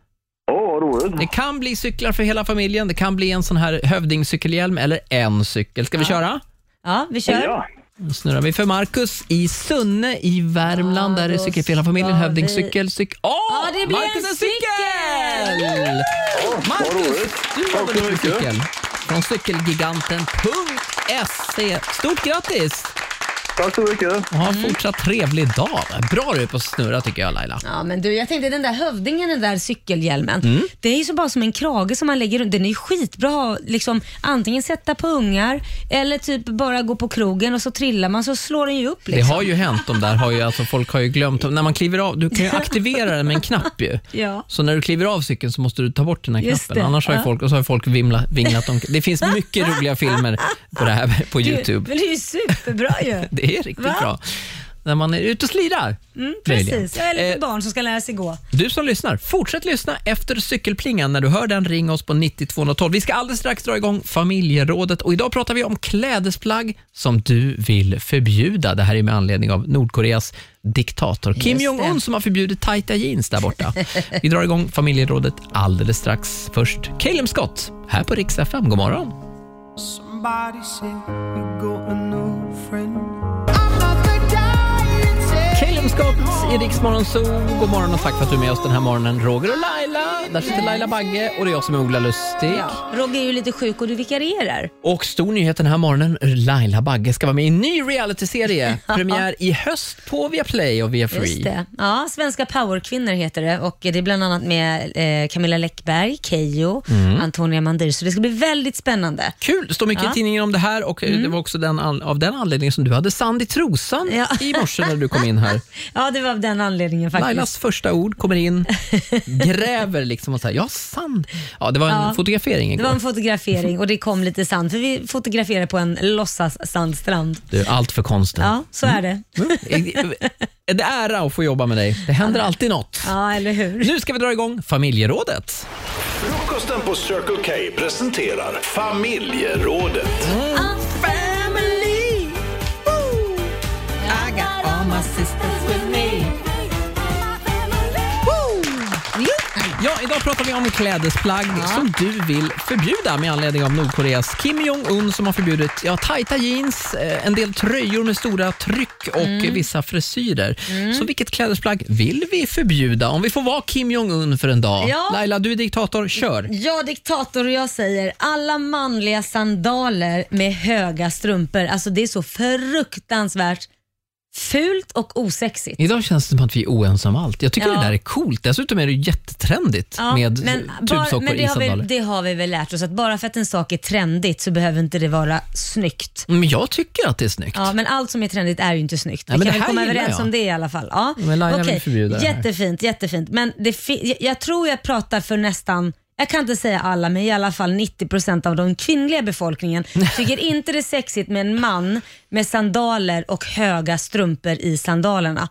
I: Åh, vad roligt.
B: Det kan bli cyklar för hela familjen. Det kan bli en sån här hövdingcykelhjälm eller en cykel. Ska vi köra?
C: Ja, vi kör.
I: Ja,
B: Nu snurrar vi för Marcus i Sunne i Värmland.
C: Ja,
B: där är
C: då
B: cykel för hela familjen.
C: ska
B: Hövdingcykel, cykel. Åh!
C: Ja, det blir
B: Marcus
C: en
B: en cykel! Marcus, du var
I: Tack så
B: väl
I: mycket.
B: cykel? Från cykelgiganten.se. Stort grattis!
I: tack så mycket.
B: Och ha en
C: Mm.
B: fortsatt trevlig dag. Bra du är på att snurra tycker jag Laila.
C: Ja, men du, jag tänkte den där hövdingen, den där cykelhjälmen.
B: Mm.
C: Det är ju så bara som en krage som man lägger runt. Den är ju skitbra att ha, liksom, antingen sätta på ungar eller typ bara gå på krogen och så trillar man så slår den ju upp.
B: Det
C: Liksom.
B: har ju hänt de där, har ju, alltså, folk har ju glömt dem. När man kliver av, du kan ju aktivera den med en knapp ju.
C: Ja.
B: Så när du kliver av cykeln så måste du ta bort den här
C: Just
B: knappen.
C: det,
B: Annars har ju
C: ja.
B: folk, och så har ju folk vimla, vinglat om. Det finns mycket roliga filmer på det här på
C: Du,
B: Youtube.
C: men det är ju superbra ju.
B: Det är riktigt
C: Va? Mm,
B: bra. När man är ute och slirar. möjligen.
C: Precis, jag är lite
B: Eh,
C: barn som ska lära sig gå.
B: Du som lyssnar, fortsätt lyssna efter cykelplingan. När du hör den, ring oss på 90 212. Vi ska alldeles strax dra igång familjerådet och idag pratar vi om klädesplagg som du vill förbjuda. Det här är med anledning av Nordkoreas diktator Kim
C: Just
B: Jong-Un
C: det.
B: som har förbjudit tajta jeans där borta. Vi drar igång familjerådet alldeles strax. Först Caleb Scott här på Rix FM. God morgon! Caleb Scott i Rix Morgon Zoo. God morgon och tack för att du är med oss den här morgonen. Roger och Laila. Där sitter Laila Bagge och det är jag som är Ola Lustig.
C: Ja. Roger är ju lite sjuk och du vikarierar.
B: Och stor nyhet den här morgonen, Laila Bagge ska vara med i en ny realityserie. Premiär i höst på Viaplay och
C: Just
B: Viafree.
C: det. Ja, Svenska powerkvinnor heter det och det är bland annat med eh, Camilla Läckberg, Keyyo,
B: Mm.
C: Antonia Mandir, så det ska bli väldigt spännande.
B: Kul! Det står mycket i
C: Ja. Mm.
B: tidningen om det här och eh, det var också den an- av den anledningen som du hade sand i trosan
C: Ja.
B: i morse när du kom in här.
C: Ja, det var av den anledningen faktiskt.
B: Lailas första ord kommer in, gräver liksom och säger ja sand. Ja, det var en
C: Ja.
B: fotografering
C: Det
B: igår.
C: var en fotografering och det kom lite sand, för vi fotograferade på en låtsas-sandstrand.
B: Du, allt för konsten. Mm.
C: Ja, så är det.
B: Är det ära att få jobba med dig? Det händer alltid något.
C: Ja, eller hur?
B: Nu ska vi dra igång familjerådet.
E: Frukosten på Circle K presenterar familjerådet.
B: Ja, idag pratar vi om klädesplagg som du vill förbjuda med anledning av Nordkoreas Kim Jong-Un som har förbjudit ja, tajta jeans, eh, en del tröjor med stora tryck och
C: Mm.
B: eh, vissa frisyrer. Så vilket klädesplagg vill vi förbjuda om vi får vara Kim Jong-Un för en dag?
C: Ja. Mm.
B: Laila, du är diktator. Kör!
C: Jag diktator och jag säger alla manliga sandaler med höga strumpor. Alltså det är så fruktansvärt fult och osexigt.
B: Idag känns det som att vi är oense om allt. Jag tycker
C: Ja.
B: det där är coolt. Dessutom är det jättetrendigt
C: Ja,
B: med
C: bara-
B: tubsockor
C: men det,
B: i
C: har vi,
B: sandaler.
C: det har vi väl lärt oss att bara för att en sak är trendigt så behöver inte det vara snyggt.
B: Men jag tycker att det är snyggt.
C: Ja, men allt som är trendigt är ju inte snyggt. Vi
B: Ja, men
C: kan
B: det
C: väl
B: här
C: komma
B: gillar
C: överens
B: jag.
C: om det i alla fall. Ja.
B: Men Laila vill
C: Okej,
B: förbjuda det här.
C: Jättefint, jättefint. Men det fi- jag- jag tror jag pratar för nästan jag kan inte säga alla, men i alla fall 90% av den kvinnliga befolkningen tycker inte det är sexigt med en man med sandaler och höga strumpor i sandalerna.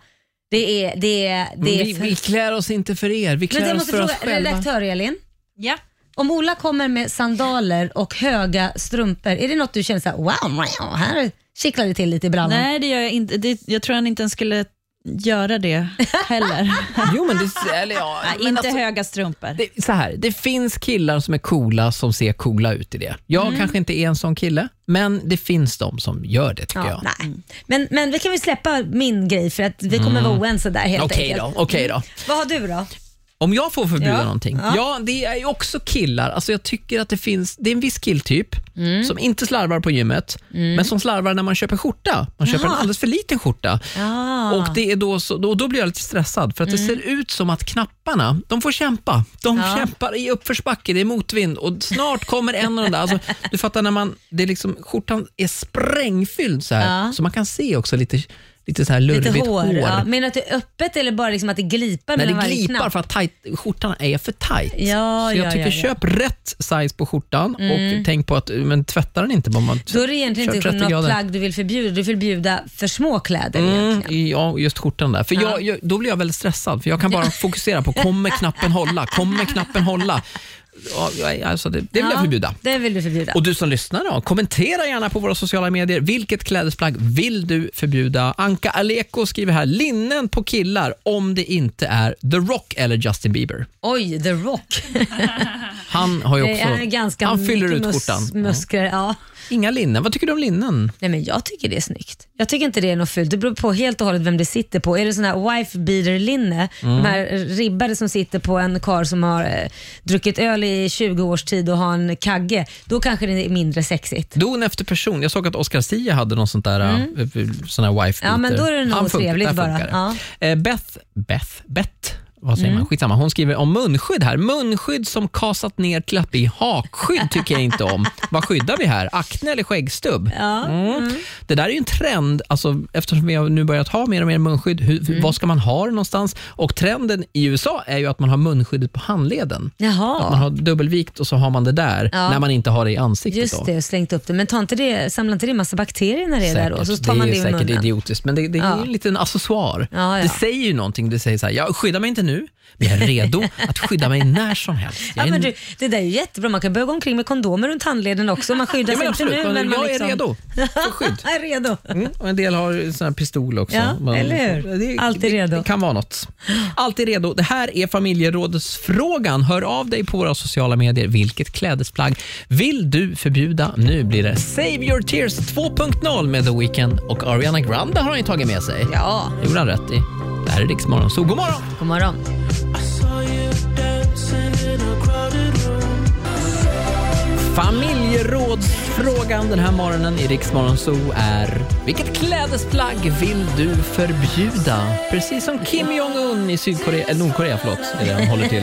C: Det är... Det är, det är
B: vi,
C: för-
B: vi klär oss inte för er, vi
C: men
B: klär
C: jag
B: oss
C: måste
B: för
C: fråga
B: oss själva.
C: redaktör Elin.
G: Ja.
C: Om Ola kommer med sandaler och höga strumpor, är det något du känner så här, wow, wow, här kittlar det till lite i brallan?
G: Nej, det gör jag inte. Det, jag tror han inte ens skulle göra det heller.
B: Jo, men det, eller ja,
G: Nej,
B: men
G: inte
B: alltså,
G: höga strumpor.
B: det, så här, det finns killar som är coola som ser coola ut i det. Jag
G: Mm.
B: kanske inte är en sån kille, men det finns de som gör det tycker
C: Ja,
B: jag.
C: nej. Men, men vi kan väl släppa min grej för att vi kommer vara oense där helt
B: Mm. Okej
C: enkelt. Mm.
B: då, okej då.
C: Vad har du då?
B: Om jag får förbjuda
C: Ja,
B: någonting?
C: ja.
B: Ja. det är ju också killar. Alltså jag tycker att det finns, det är en viss killtyp
C: Mm.
B: som inte slarvar på gymmet, men som slarvar när man köper skjorta. Man köper en alldeles för liten skjorta.
C: Ah. Mm.
B: Och det är då, så, då, då blir jag lite stressad för att det ser ut som att knapparna, de får kämpa. De kämpar i uppförsbacke, det är motvind och snart kommer en av de där. Alltså, du fattar när man, det är liksom, skjortan är sprängfylld så här, så man kan se också lite, lite så här lurvigt
C: Lite hår.
B: hår.
C: Ja, menar du att det är öppet eller bara liksom att det
B: När
C: glipar mellan
B: det
C: varje
B: glipar
C: knapp?
B: för att tajt, skjortan är för tajt.
C: Ja,
B: så jag
C: ja,
B: tycker
C: ja, ja.
B: köp rätt size på skjortan och tänk på att men tvätta den inte bara man
C: Då är det egentligen
B: kör
C: inte
B: 30
C: något
B: grader.
C: plagg du vill förbjuda. Du vill förbjuda för små kläder egentligen.
B: Mm, ja, just skjortan där. För jag, jag, då blir jag väldigt stressad, för jag kan bara fokusera på kommer knappen hålla, kommer knappen hålla. Ja, jag- Alltså det, det vill jag
C: Ja,
B: förbjuda.
C: Det vill du förbjuda.
B: Och du som lyssnar, då, kommentera gärna på våra sociala medier. Vilket klädesplagg vill du förbjuda? Anka Aleko skriver här, linnen på killar om det inte är The Rock eller Justin Bieber.
C: Oj, The Rock.
B: Han har ju
C: Det
B: också,
C: är ganska
B: han fyller
C: mycket
B: ut
C: mus-
B: skjortan. Ja.
C: Muskler, ja.
B: Inga linnen. Vad tycker du om linnen?
C: Nej, men jag tycker det är snyggt. Jag tycker inte det är något fult. Det beror på helt och hållet vem det sitter på. Är det sån här wife beater linne,
B: Mm.
C: de här ribbade som sitter på en karl som har eh, druckit öl i 20 års tid och har en kagge, då kanske det är mindre sexigt.
B: Don efter person. Jag såg att Oscar Zia hade någon sånt där, eh, sån här wife
C: Mm. Ja, men
B: beater.
C: då är det nog
B: Han funkar-
C: trevligt
B: där
C: bara.
B: funkar det. Eh, Beth, Beth, Beth, vad säger
C: Mm.
B: man? Skitsamma. Hon skriver om munskydd här. Munskydd som kasat ner till att bli hakskydd tycker jag inte om. vad skyddar vi här? Akne eller skäggstubb? Mm. Det där är ju en trend, alltså, eftersom vi har nu börjat ha mer och mer munskydd. Hur,
C: Mm.
B: Vad ska man ha det någonstans? Och trenden i USA är ju att man har munskyddet på handleden. Att man
C: Jaha,
B: har dubbelvikt och så har man det där
C: Ja.
B: när man inte har det i ansiktet.
C: just
B: då.
C: det. Jag slängt upp det. Men ta inte det, samlar inte det en massa bakterier när det är där då? Så
B: Säkert.
C: tar man
B: det
C: det,
B: är
C: i
B: säkert
C: munnen.
B: idiotiskt, men det, det är
C: Ja.
B: en liten accessoar.
C: Ja, ja.
B: Det säger ju någonting. Det säger så här, jag skyddar mig inte nu, men jag är redo att skydda mig när som helst. Jag
C: Ja,
B: är
C: men du, det där är ju jättebra. Man kan börja gå omkring med kondomer runt handleden också. Man skyddar
B: Ja,
C: sig
B: men
C: inte
B: absolut,
C: nu.
B: men
C: men man
B: jag
C: liksom...
B: är redo för skydd.
C: Jag är redo.
B: Mm, och en del har sån här pistol också.
C: Ja, eller hur? Alltid redo.
B: Det kan vara något. Alltid redo. Det här är familjerådsfrågan. Hör av dig på våra sociala medier. Vilket klädesplagg vill du förbjuda? Nu blir det Save Your Tears 2.0 med The Weeknd och Ariana Grande har han ju tagit med sig.
C: Ja,
B: Det gjorde han rätt i. Det här är Rix Morgon, så god morgon!
C: god morgon.
B: Familjerådsfrågan den här morgonen i Rix Morgon Zoo är Vilket klädesplagg vill du förbjuda? Precis som Kim Jong-Un i Sydkorea, eller Nordkorea, förlåt, är det han håller till.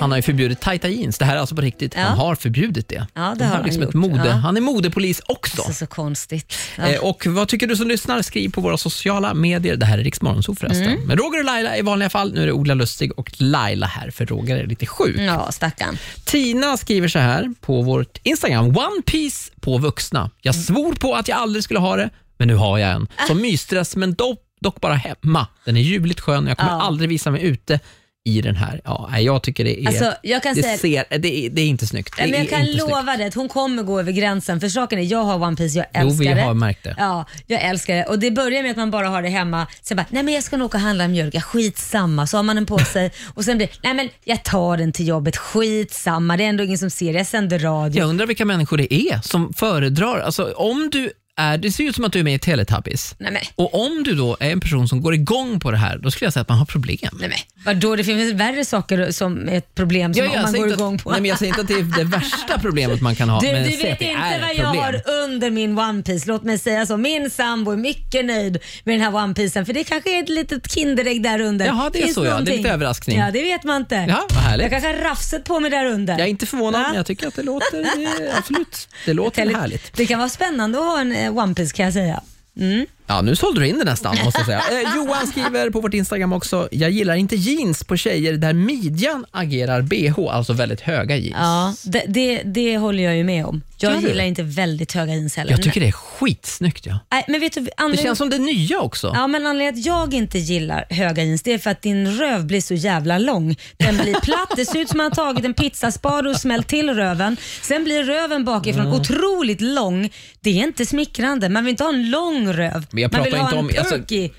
B: Han har ju förbjudit tajta jeans. Det här är alltså på riktigt. Han har förbjudit det.
C: Ja,
B: här
C: det har
B: är
C: han
B: liksom
C: gjort.
B: ett mode.
C: Ja.
B: Han är modepolis också.
C: Så, så konstigt. Ja.
B: Eh, Och vad tycker du som lyssnar? Skriv på våra sociala medier. Det här är Riksmorgon så förresten.
C: Mm.
B: Men Roger och Laila i vanliga fall. Nu är det Ola Lustig och Laila här, för Roger är lite sjuk.
C: Ja, stackarn.
B: Tina skriver så här på vårt Instagram. One piece på vuxna. Jag
C: Mm.
B: svor på att jag aldrig skulle ha det, men nu har jag
C: Ah.
B: en. Som mysdress, men dock, dock bara hemma. Den är ljuvligt skön och jag kommer aldrig visa mig ute i den här. Ja, nej, jag tycker det är...
C: Alltså, jag kan
B: det,
C: säga-
B: ser, det, är- det är inte snyggt.
C: Nej,
B: Det
C: men jag
B: är
C: kan
B: inte snyggt.
C: lova dig att hon kommer gå över gränsen. För saken är, jag har One Piece, jag älskar
B: vi
C: det.
B: har märkt det.
C: Ja, jag älskar det. Och det börjar med att man bara har det hemma. Sen bara, nej men jag ska nog åka och handla mjölk, ja, skitsamma. Så har man den på sig och sen blir nej men jag tar den till jobbet, skitsamma. Det är ändå ingen som ser det, jag sänder radio.
B: Jag undrar vilka människor det är som föredrar, alltså om du är, det ser ju ut som att du är med i Teletubbies.
C: Nej men,
B: Och om du då är en person som går igång på det här, då skulle jag säga att man har problem.
C: nej men. Vadå, det finns värre saker som är ett problem som
B: Ja, jag
C: man
B: säger
C: går
B: inte att-
C: igång på.
B: Nej, men jag säger inte att det är det värsta problemet man kan ha,
C: Du,
B: men
C: du
B: jag säger att
C: vet
B: det
C: inte
B: är
C: vad
B: ett
C: jag
B: problem.
C: har under min One Piece låt mig säga så. Min sambo är mycket nöjd med den här One Piecen för det kanske är ett litet Kinderägg där under.
B: Jaha, det är
C: Finns
B: så, ja. Det är
C: någonting?
B: lite överraskning.
C: Ja, det vet man inte.
B: Ja, vad härligt.
C: Jag kanske har rafset på mig där under.
B: Jag är inte förvånad,
C: Va?
B: men jag tycker att det låter, eh, absolut, det låter
C: Tele-
B: härligt.
C: Det kan vara spännande att ha en eh, One Piece kan jag säga. Mm.
B: Ja, nu sålde du in det nästan, måste jag säga. Eh, Johan skriver på vårt Instagram också, jag gillar inte jeans på tjejer där midjan agerar bh, alltså väldigt höga jeans.
C: Ja, det, det, det håller jag ju med om. Jag
B: Gör du?
C: gillar inte väldigt höga jeans heller.
B: Jag tycker det är skitsnyggt. Ja.
C: Nej, men vet du,
B: Det
C: anledningen-
B: känns som det nya också.
C: Ja, men anledningen till att jag inte gillar höga jeans det är för att din röv blir så jävla lång. Den blir platt, det ser ut som att man har tagit en pizzaspade och smält till röven. Sen blir röven bakifrån
B: Mm.
C: otroligt lång. Det är inte smickrande. Man vill inte ha en lång röv.
B: Men jag
C: man
B: pratar
C: vill ha
B: inte
C: en
B: om- alltså-
C: perky,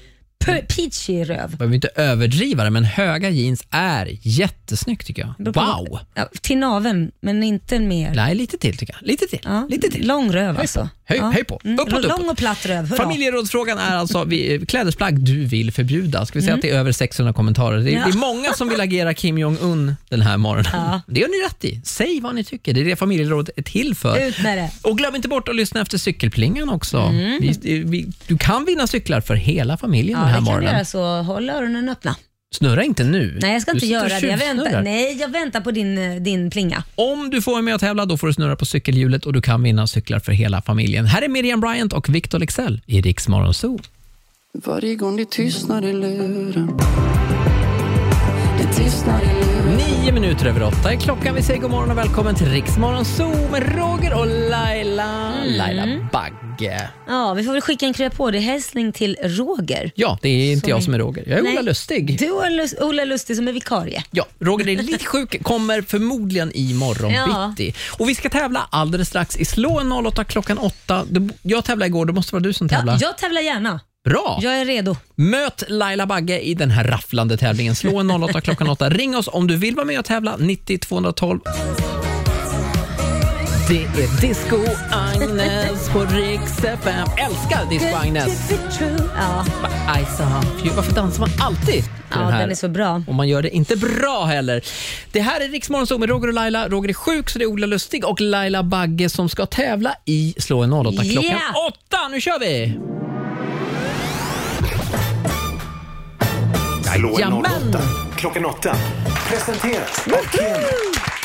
C: per, peachy röv.
B: Man behöver inte överdriva det, men höga jeans är jättesnyggt tycker jag.
C: Beror på-
B: Wow!
C: Ja, till naveln, men inte mer.
B: Nej, lite till tycker jag. Lite till.
C: Ja,
B: Lite till.
C: Lång röv alltså.
B: Höj,
C: ja.
B: höj på.
C: Mm,
B: Uppåt, uppåt.
C: Lång och platt röv. Hurra.
B: Familjerådsfrågan är alltså vi, klädesplagg du vill förbjuda. Ska vi säga att det är över 600 kommentarer? Det,
C: Mm. Ja.
B: det är många som vill agera Kim Jong-Un den här morgonen.
C: Ja.
B: Det gör ni rätt i. Säg vad ni tycker. Det är det familjerådet är till för.
C: Ut med det. Mm.
B: Och glöm inte bort att lyssna efter cykelplingan också. Vi, vi, du kan vinna cyklar för hela familjen
C: Ja,
B: den här
C: det kan du
B: morgonen.
C: göra så håll öronen öppna.
B: Snurra inte nu.
C: Nej, jag ska
B: Du
C: inte
B: sitter och
C: göra det. Jag väntar.
B: tjuvsnurrar.
C: Nej, jag väntar på din, eh, din plinga.
B: Om du får vara med och tävla då får du snurra på cykelhjulet och du kan vinna cyklar för hela familjen. Här är Miriam Bryant och Victor Lexell i Rix Morgon Zoo.
D: Varje gång det tystnar i luren Det tystnar i luren
B: Nio minuter över åtta är klockan. Vi säger god morgon och välkommen till Rix Morgon Zoo med Roger och Laila.
C: Mm.
B: Laila Bagge.
C: Ja, vi får väl skicka en krya på det hälsning till Roger.
B: Ja, det är inte
C: Som
B: jag
C: är-
B: som är Roger. Jag är
C: Nej.
B: Ola Lustig.
C: Du och Lus- Ola Lustig som är vikarie.
B: Ja, Roger är lite sjuk, kommer förmodligen imorgon
C: Ja.
B: bitti. Och vi ska tävla alldeles strax i Slå en 08 klockan åtta. Du- Jag tävlade igår, då måste det vara du som tävlar.
C: Ja, jag tävlar gärna.
B: Bra!
C: Jag är redo.
B: Möt Laila Bagge i den här rafflande tävlingen. Slå en 08 klockan 8. Ring oss om du vill vara med och tävla. 90 212. Det är Disco Agnes på Rix FM. Älskar Disco Agnes.
C: Ja,
B: I saw you. Varför dansar man alltid till
C: ja
B: den här?
C: den är så bra.
B: Och man gör det inte bra heller. Det här är Riksmorgon Zoo med Roger och Laila. Roger är sjuk så det är Ola Lustig och Laila Bagge som ska tävla i Slå en 08 klockan
C: Yeah.
B: åtta. Nu kör vi!
E: Slå en
B: Jajamän.
E: 08 klockan åtta. Presenteras av Keno.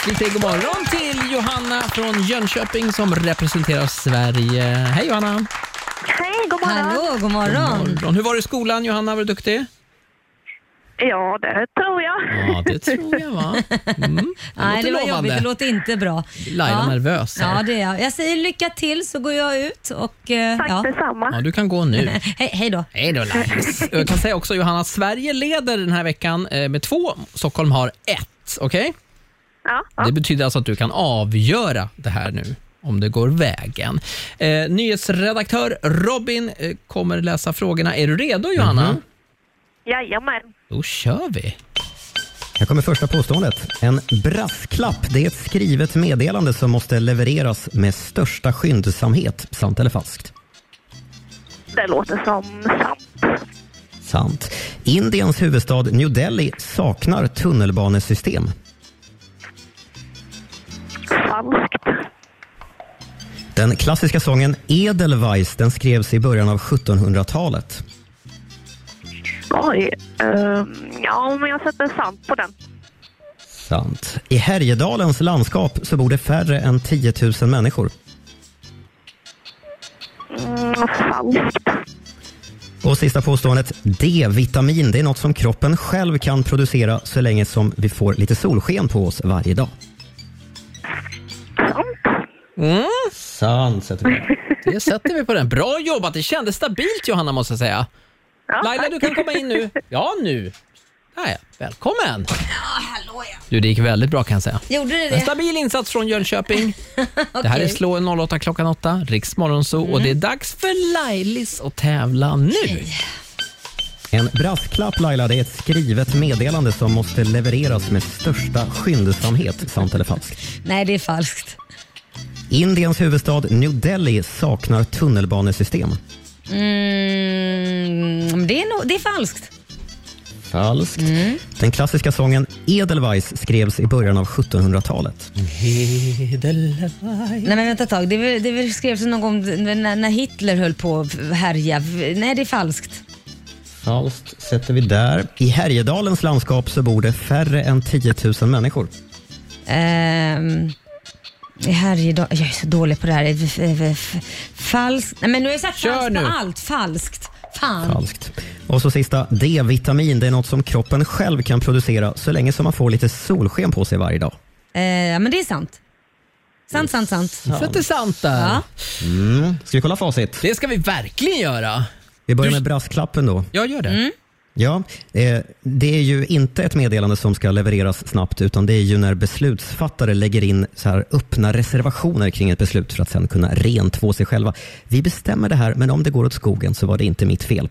B: Vi säger god morgon till Johanna från Jönköping som representerar Sverige. Hej Johanna!
F: Hej, god
C: Hallå, god morgon.
B: Morgon. Hur var det i skolan Johanna? Var du duktig?
F: Ja, det tror jag.
B: Ja, det tror jag va. Mm.
C: Nej, det var
B: lovande.
C: jobbigt. Det låter inte bra.
B: Laila nervös här.
C: Ja, det är jag. Jag säger lycka till så går jag ut och... eh,
F: Tack
C: ja.
F: detsamma.
B: Ja, du kan gå nu.
C: Hej, hej då.
B: Hej då Laila. Jag kan säga också Johanna, att Sverige leder den här veckan eh, med två. Stockholm har ett. Okej?
F: Ja, ja.
B: Det betyder alltså att du kan avgöra det här nu om det går vägen. Eh, nyhetsredaktör Robin eh, kommer läsa frågorna. Är du redo Johanna?
C: Mhm.
F: Jajamän.
B: Då kör vi.
K: Här kommer första påståendet. En brasklapp, det är ett skrivet meddelande som måste levereras med största skyndsamhet. Sant eller falskt?
F: Det låter som sant.
K: Sant. Indiens huvudstad New Delhi saknar tunnelbanesystem.
F: Falskt.
K: Den klassiska sången Edelweiss den skrevs i början av 1700-talet.
F: Oj. ehm, ja, men jag sätter sant på den.
K: Sant. I Härjedalens landskap så bor det färre än 10 000 människor.
F: Mm, falskt.
K: Och sista påståendet. D-vitamin det är något som kroppen själv kan producera så länge som vi får lite solsken på oss varje dag.
F: Sant.
K: Sant sätter vi.
B: Mm. Det sätter vi på den. Bra jobbat. Det kändes stabilt Johanna måste jag säga.
F: Ja,
B: Laila, du kan komma in nu. Ja, nu. Nej, välkommen!
C: hallå ja.
B: Du, det gick väldigt bra kan jag säga.
C: Gjorde det
B: En
C: det?
B: stabil insats från Jönköping. Det här är
C: Okej.
B: Slå en 08 klockan 8, Riks Morgonzoo och det är dags för Lailis att tävla nu.
K: En brasklapp Laila, det är ett skrivet meddelande som måste levereras med största skyndsamhet. Sant eller falskt?
C: Nej, det är falskt.
K: Indiens huvudstad New Delhi saknar tunnelbanesystem.
C: Mm, det, är nog, det är falskt.
K: Falskt. Den klassiska sången Edelweiss skrevs i början av 1700-talet.
C: Nej men vänta ett tag, det, är väl- det är väl skrevs någon gång när, när Hitler höll på att härja. Nej det är falskt.
K: Falskt sätter vi där. I Härjedalens landskap så bor det färre än 10 000 människor.
C: Ehm, Härjedal, jag är så dålig på det här. F- f- f- Falskt, nej men nu har jag sagt
K: Kör
C: falskt
K: nu.
C: på allt. Falskt. Fan.
K: Falskt. Och så sista, D-vitamin. Det är något som kroppen själv kan producera så länge som man får lite solsken på sig varje dag.
C: Eh, ja men det är sant. Sant, sant, sant.
K: För att det är
B: sant där.
C: Ja.
K: Mm. Ska vi kolla facit?
B: Det ska vi verkligen göra.
K: Vi börjar med brasklappen då.
B: Jag gör det.
C: Mm.
K: Ja, eh, det är ju inte ett meddelande som ska levereras snabbt utan det är ju när beslutsfattare lägger in så här öppna reservationer kring ett beslut för att sen kunna rentvå sig själva. Vi bestämmer det här men om det går åt skogen så var det inte mitt fel.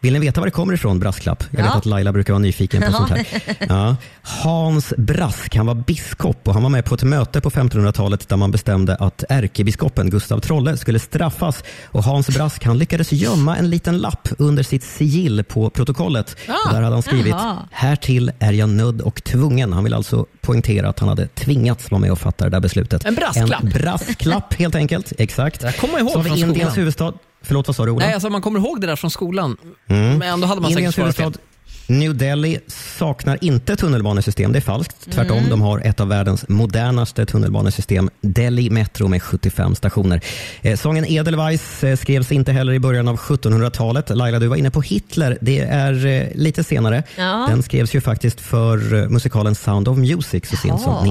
K: Vill ni veta var det kommer ifrån, brasklapp? Jag vet
C: Ja.
K: att Laila brukar vara nyfiken på
C: Ja.
K: sånt här. Ja. Hans Brask, han var biskop och han var med på ett möte på 1500-talet där man bestämde att ärkebiskopen Gustav Trolle skulle straffas. Och Hans Brask han lyckades gömma en liten lapp under sitt sigill på protokollet.
J: Ah,
K: och där hade han skrivit
J: jaha.
K: “Härtill är jag nödd och tvungen”. Han vill alltså poängtera att han hade tvingats vara med och fatta det där beslutet.
B: En brasklapp.
K: En brasklapp helt enkelt. Exakt.
B: Det där kommer jag ihåg
K: Så har vi
B: från
K: Indiens
B: skolan.
K: huvudstad. Förlåt, vad sa du Ola?
B: Nej, alltså man kommer ihåg det där från skolan.
K: Mm.
B: Men ändå hade man
K: Indiens
B: säkert svarat
K: huvudstad
B: fel.
K: New Delhi saknar inte tunnelbanesystem, det är falskt. Tvärtom, de har ett av världens modernaste tunnelbanesystem, Delhi Metro med 75 stationer. Eh, sången Edelweiss eh, skrevs inte heller i början av 1700-talet. Laila, du var inne på Hitler, det är eh, lite senare.
J: Ja.
K: Den skrevs ju faktiskt för eh, musikalen Sound of Music så sent
J: Jaha.
K: som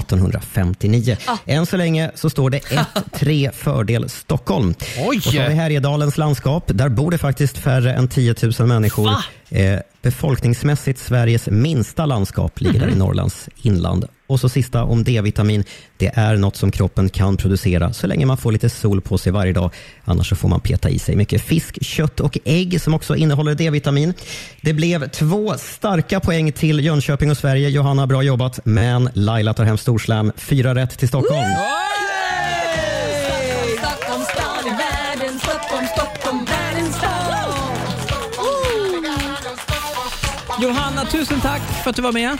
K: 1959.
J: Ah.
K: Än så länge så står det 1-3 fördel Stockholm.
J: Oj!
K: Och så har vi Härjedalens landskap. Där bor det faktiskt färre än 10 000 människor.
J: Va?
K: Eh, befolkningsmässigt Sveriges minsta landskap ligger
J: Mhm.
K: där i Norrlands inland. Och så sista om D-vitamin. Det är något som kroppen kan producera så länge man får lite sol på sig varje dag. Annars så får man peta i sig mycket fisk, kött och ägg som också innehåller D-vitamin. Det blev två starka poäng till Jönköping och Sverige. Johanna, bra jobbat. Men Laila tar hem storslam. Fyra rätt till Stockholm.
J: Stockholm stad i världen, Stockholm, Stockholm, världens stad.
B: Johanna, tusen tack för att du var med.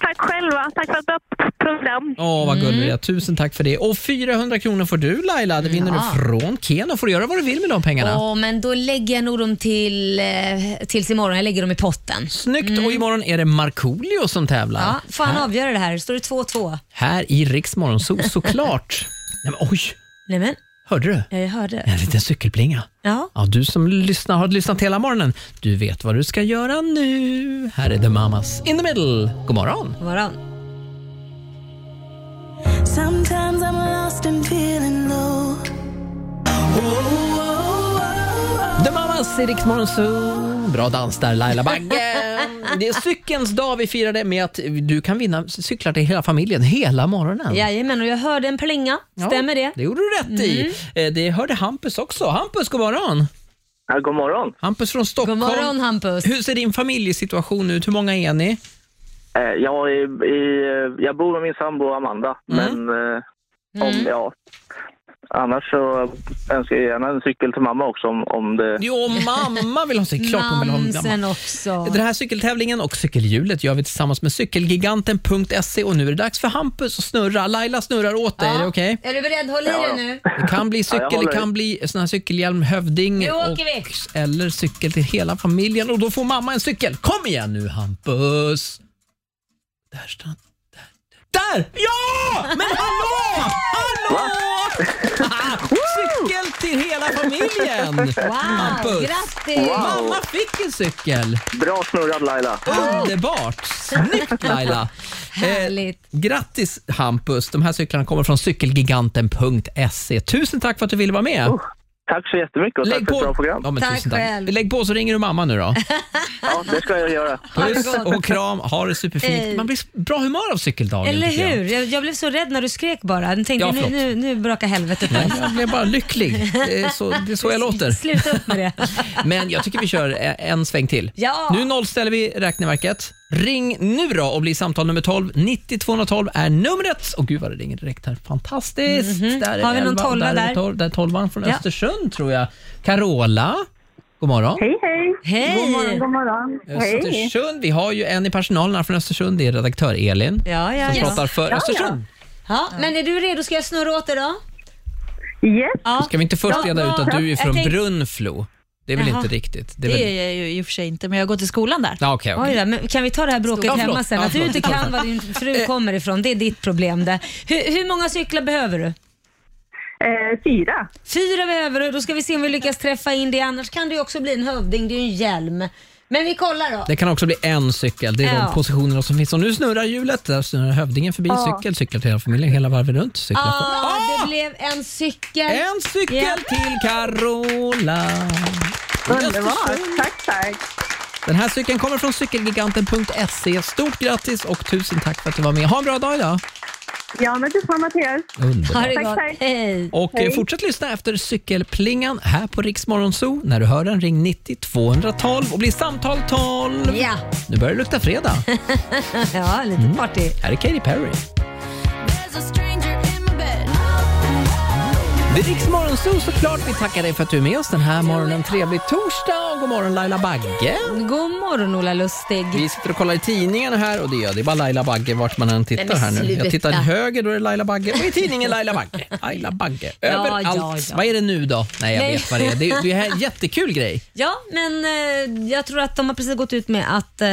F: Tack själva. Tack för ett öppet program.
B: Åh,
C: Mm.
B: vad gullig du är. Tusen tack för det. Och 400 kronor får du Laila. Det vinner
C: Ja.
B: du från Ken och får göra vad du vill med de pengarna.
C: Åh, men då lägger jag nog dem till, eh, tills imorgon. Jag lägger dem i potten.
B: Snyggt! Och imorgon är det Markoolio som tävlar.
C: Mm. Ja, får han
B: här,
C: avgöra det här? Står det 2-2?
B: här i Riks Morgonzoo såklart. Nej, men, oj,
C: Nej men,
B: hörde du?
C: jag hörde.
B: En liten cykelplinga.
C: Ja.
B: Ja, du som lyssnar, har lyssnat hela morgonen, du vet vad du ska göra nu. Här är The Mamas in the middle. God morgon!
C: God morgon.
J: Sometimes I'm lost and feeling low.
B: The Mamas i Rix Morgonzoo. Bra dans där Laila Bagge. Det är cykelns dag vi firade med att du kan vinna cyklar till hela familjen hela morgonen.
C: Jajamän, och jag hörde en plinga. Stämmer det?
B: Det gjorde du rätt
C: Mm.
B: i. Eh, Det hörde Hampus också. Hampus, god morgon.
L: Ja, god morgon.
B: Hampus från Stockholm.
C: God morgon, Hampus.
B: Hur ser din familjesituation ut? Hur många är ni?
L: Eh, Jag, är, i, jag bor med min sambo Amanda,
J: Mm.
L: men eh, om, ja. Annars så önskar jag gärna en cykel till mamma också om, om det...
B: Jo, mamma vill ha cykel. Klart hon vill ha
C: Mamsen
B: mamma.
C: också.
B: Den här cykeltävlingen och cykelhjulet gör vi tillsammans med cykelgiganten.se och nu är det dags för Hampus att snurra. Laila snurrar åt dig, är det okej?
C: Är du beredd? Håll i dig nu.
B: Det kan bli cykel,
C: Ja, jag håller
B: det kan
C: i.
B: bli sån här cykelhjälm, hövding
C: Nu åker vi.
B: och, eller cykel till hela familjen och då får mamma en cykel. Kom igen nu Hampus! Där står han. Där! Där! Ja! Men hallå! Hallå! cykel till hela familjen!
J: Wow,
B: Hampus!
J: grattis! Wow.
B: Mamma fick en cykel!
L: Bra snurrad Laila!
B: Underbart! Snyggt Laila! Härligt. Eh, grattis Hampus! De här cyklarna kommer från cykelgiganten.se. Tusen tack för att du ville vara med.
L: Oh, Tack så jättemycket och tack för ett bra program.
B: Ja, men
L: Tack
B: tusen tack.
L: själv.
B: Lägg på så ringer du mamma nu då.
L: Ja, det ska jag göra.
B: Puss och kram, ha det
C: Hej.
B: superfint. Man blir bra humör av cykeldagen.
C: Eller
B: tycker jag.
C: hur? Jag, jag blev så rädd när du skrek bara. Jag tänkte
B: Ja,
C: nu,
B: förlåt.
C: nu, nu brakar helvetet
B: Nej,
C: lös.
B: jag blev bara lycklig. Det är så, det är så jag låter.
C: Sluta upp med det.
B: Men jag tycker vi kör e- en sväng till.
C: Ja.
B: Nu nollställer vi räkneverket. Ring nu då och bli samtal nummer 12. 90 212 är numret. Och gud vad det ringer direkt här. Fantastiskt.
C: Mhm.
B: Där är
C: Har vi någon
B: elva,
C: tolva
B: Där
C: där?
B: är tolv, där är tolvan från
C: Ja.
B: Östersund tror jag. Carola. God morgon.
F: Hej, hej.
C: Hej.
F: God morgon, god morgon. Hej.
B: Östersund. Vi har ju en i personalen här från Östersund. Det är redaktör Elin.
C: Ja, ja,
B: som
C: ja.
B: pratar för
C: Ja, ja.
B: Östersund.
C: Ja, men är du redo? Ska jag snurra åt dig då?
F: Yes.
C: Ja.
B: Ska vi inte först
C: Ja,
B: reda ut att
C: ja.
B: du är
C: Jag
B: från
C: tänkte-
B: Brunflo? Det är väl
C: Jaha.
B: inte riktigt?
G: Det
B: är väl...
G: är jag ju i och för sig inte, men jag går till skolan där.
B: Ja, okej, okej.
C: Oj då, men kan vi ta det här bråket
G: Ja, förlåt.
C: hemma sen?
G: Ja,
C: Att du
G: förlåt.
C: inte kan var din fru
G: Eh.
C: kommer ifrån, det är ditt problem det. Hur, hur många cyklar behöver du?
F: Eh, fyra.
C: Fyra behöver du, då ska vi se om vi lyckas träffa in det. Annars kan det ju också bli en hövding, det är ju en hjälm. Men vi kollar då.
B: Det kan också bli en cykel. Det är
C: Ja.
B: de positionerna som finns. Och nu snurrar hjulet. Där snurrar hövdingen förbi.
C: Ja.
B: Cykel, cyklar till hela familjen. Hela varvet runt. Cyklar. på- Ah,
C: Ah, det blev en cykel.
B: En cykel
C: Ja.
B: till Carola.
F: Underbart. Tack, tack.
B: Den här cykeln kommer från cykelgiganten.se. E. Stort grattis och tusen tack för att du var med. Ha en bra dag idag.
F: Ja, men detsamma Mattias.
B: Underbart.
F: Tack, tack.
C: Hej.
B: Och eh, fortsätt lyssna efter cykelplingan här på Rix Morgon Zoo. När du hör den, ring 90 212 och bli samtal 12.
C: Ja.
B: Nu börjar det lukta fredag.
C: ja, lite party.
B: Här är Katy Perry. Det är Rix Morgon Zoo såklart. Vi tackar dig för att du är med oss den här morgonen. Trevlig torsdag och god morgon Laila Bagge.
C: God morgon Ola Lustig.
B: Vi sitter och kollar i tidningarna här och det, gör, det är bara Laila Bagge vart man än
C: Nej,
B: tittar
C: men
B: här nu. Jag
C: sluta.
B: tittar höger, då är det Laila Bagge. Och i tidningen Laila Bagge. Laila Bagge.
C: Ja,
B: Överallt.
C: ja, ja.
B: Vad är det nu då? Nej, jag
C: Nej.
B: vet vad det är. Det är, det är en jättekul grej.
C: Ja, men eh, jag tror att de har precis gått ut med att eh,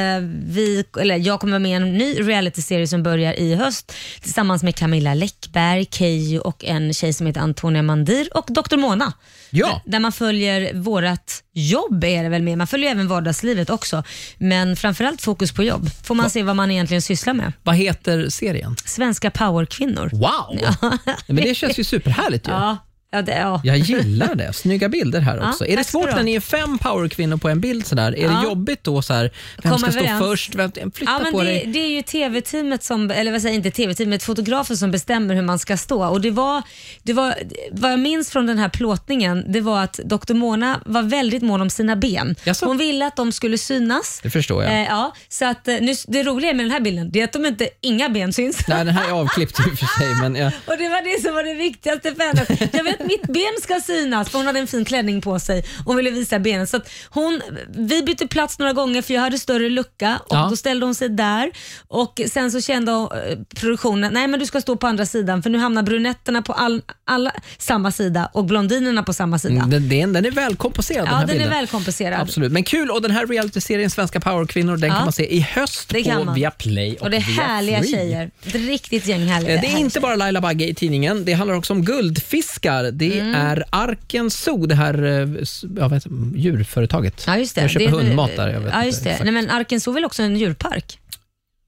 C: vi, eller jag kommer vara med i en ny realityserie som börjar i höst tillsammans med Camilla Läckberg, Keyyo och en tjej som heter Antonia Mandir och Dr. Mona.
B: Ja.
C: Där man följer vårt jobb är det väl med. Man följer även vardagslivet också. Men framförallt fokus på jobb. Får man se vad man egentligen sysslar med.
B: Vad heter serien?
C: Svenska powerkvinnor.
B: Wow! Nej, Men det känns ju superhärligt ju.
C: Ja, ja, det, ja.
B: Jag gillar det. Snygga bilder här
C: Ja,
B: också. är det
C: tack ska
B: svårt
C: du ha.
B: när ni är fem powerkvinnor på en bild sådär? Är
C: Ja.
B: det jobbigt då så här, vem
C: Komma
B: ska stå
C: överens.
B: först? Vem, flytta
C: Ja, men
B: på
C: det,
B: dig.
C: det är ju tv-teamet som, eller vad säger jag, inte tv-teamet, fotografen som bestämmer hur man ska stå. Och det var, det var, vad jag minns från den här plåtningen, det var att Dr. Mona var väldigt mån om sina ben.
B: Jaså?
C: Hon ville att de skulle synas.
B: Det förstår jag.
C: Eh, ja, så att, eh, nu, det roliga med den här bilden, det är att de inte, inga ben syns.
B: Nej, den här är avklippt i och för sig. Men jag,
C: Och det var det som var det viktigaste för henne. Jag vet att mitt ben ska synas för hon hade en fin klänning på sig och ville visa benen. Så att hon, vi bytte plats några gånger för jag hade större lucka och
J: Ja.
C: då ställde hon sig där och sen så kände hon, eh, produktionen, nej men du ska stå på andra sidan för nu hamnar brunetterna på all, alla samma sida och blondinerna på samma sida.
B: den, den, den är välkompenserad Mm, den
C: ja,
B: här
C: den
B: bilden.
C: är välkompenserad.
B: Absolut. Men kul och den här realityserien Svenska powerkvinnor den
C: Ja.
B: kan man se i höst
C: Det kan
B: på
C: man.
B: Viaplay och,
C: Och det är härliga
B: Viafree.
C: tjejer. Ett riktigt gäng härliga
B: Eh, Det är inte bara Laila Bagge i tidningen. Det handlar också om guldfiskar. Det
C: Mm.
B: är Arken Zoo, det här eh, s- ja, vad heter det? djurföretaget.
C: Ja, just det.
B: Jag köper
C: det är-
B: hundmat där. Jag vet
C: ja,
B: inte
C: just det.
B: exakt.
C: Nej, men Arken Zoo är väl också en djurpark?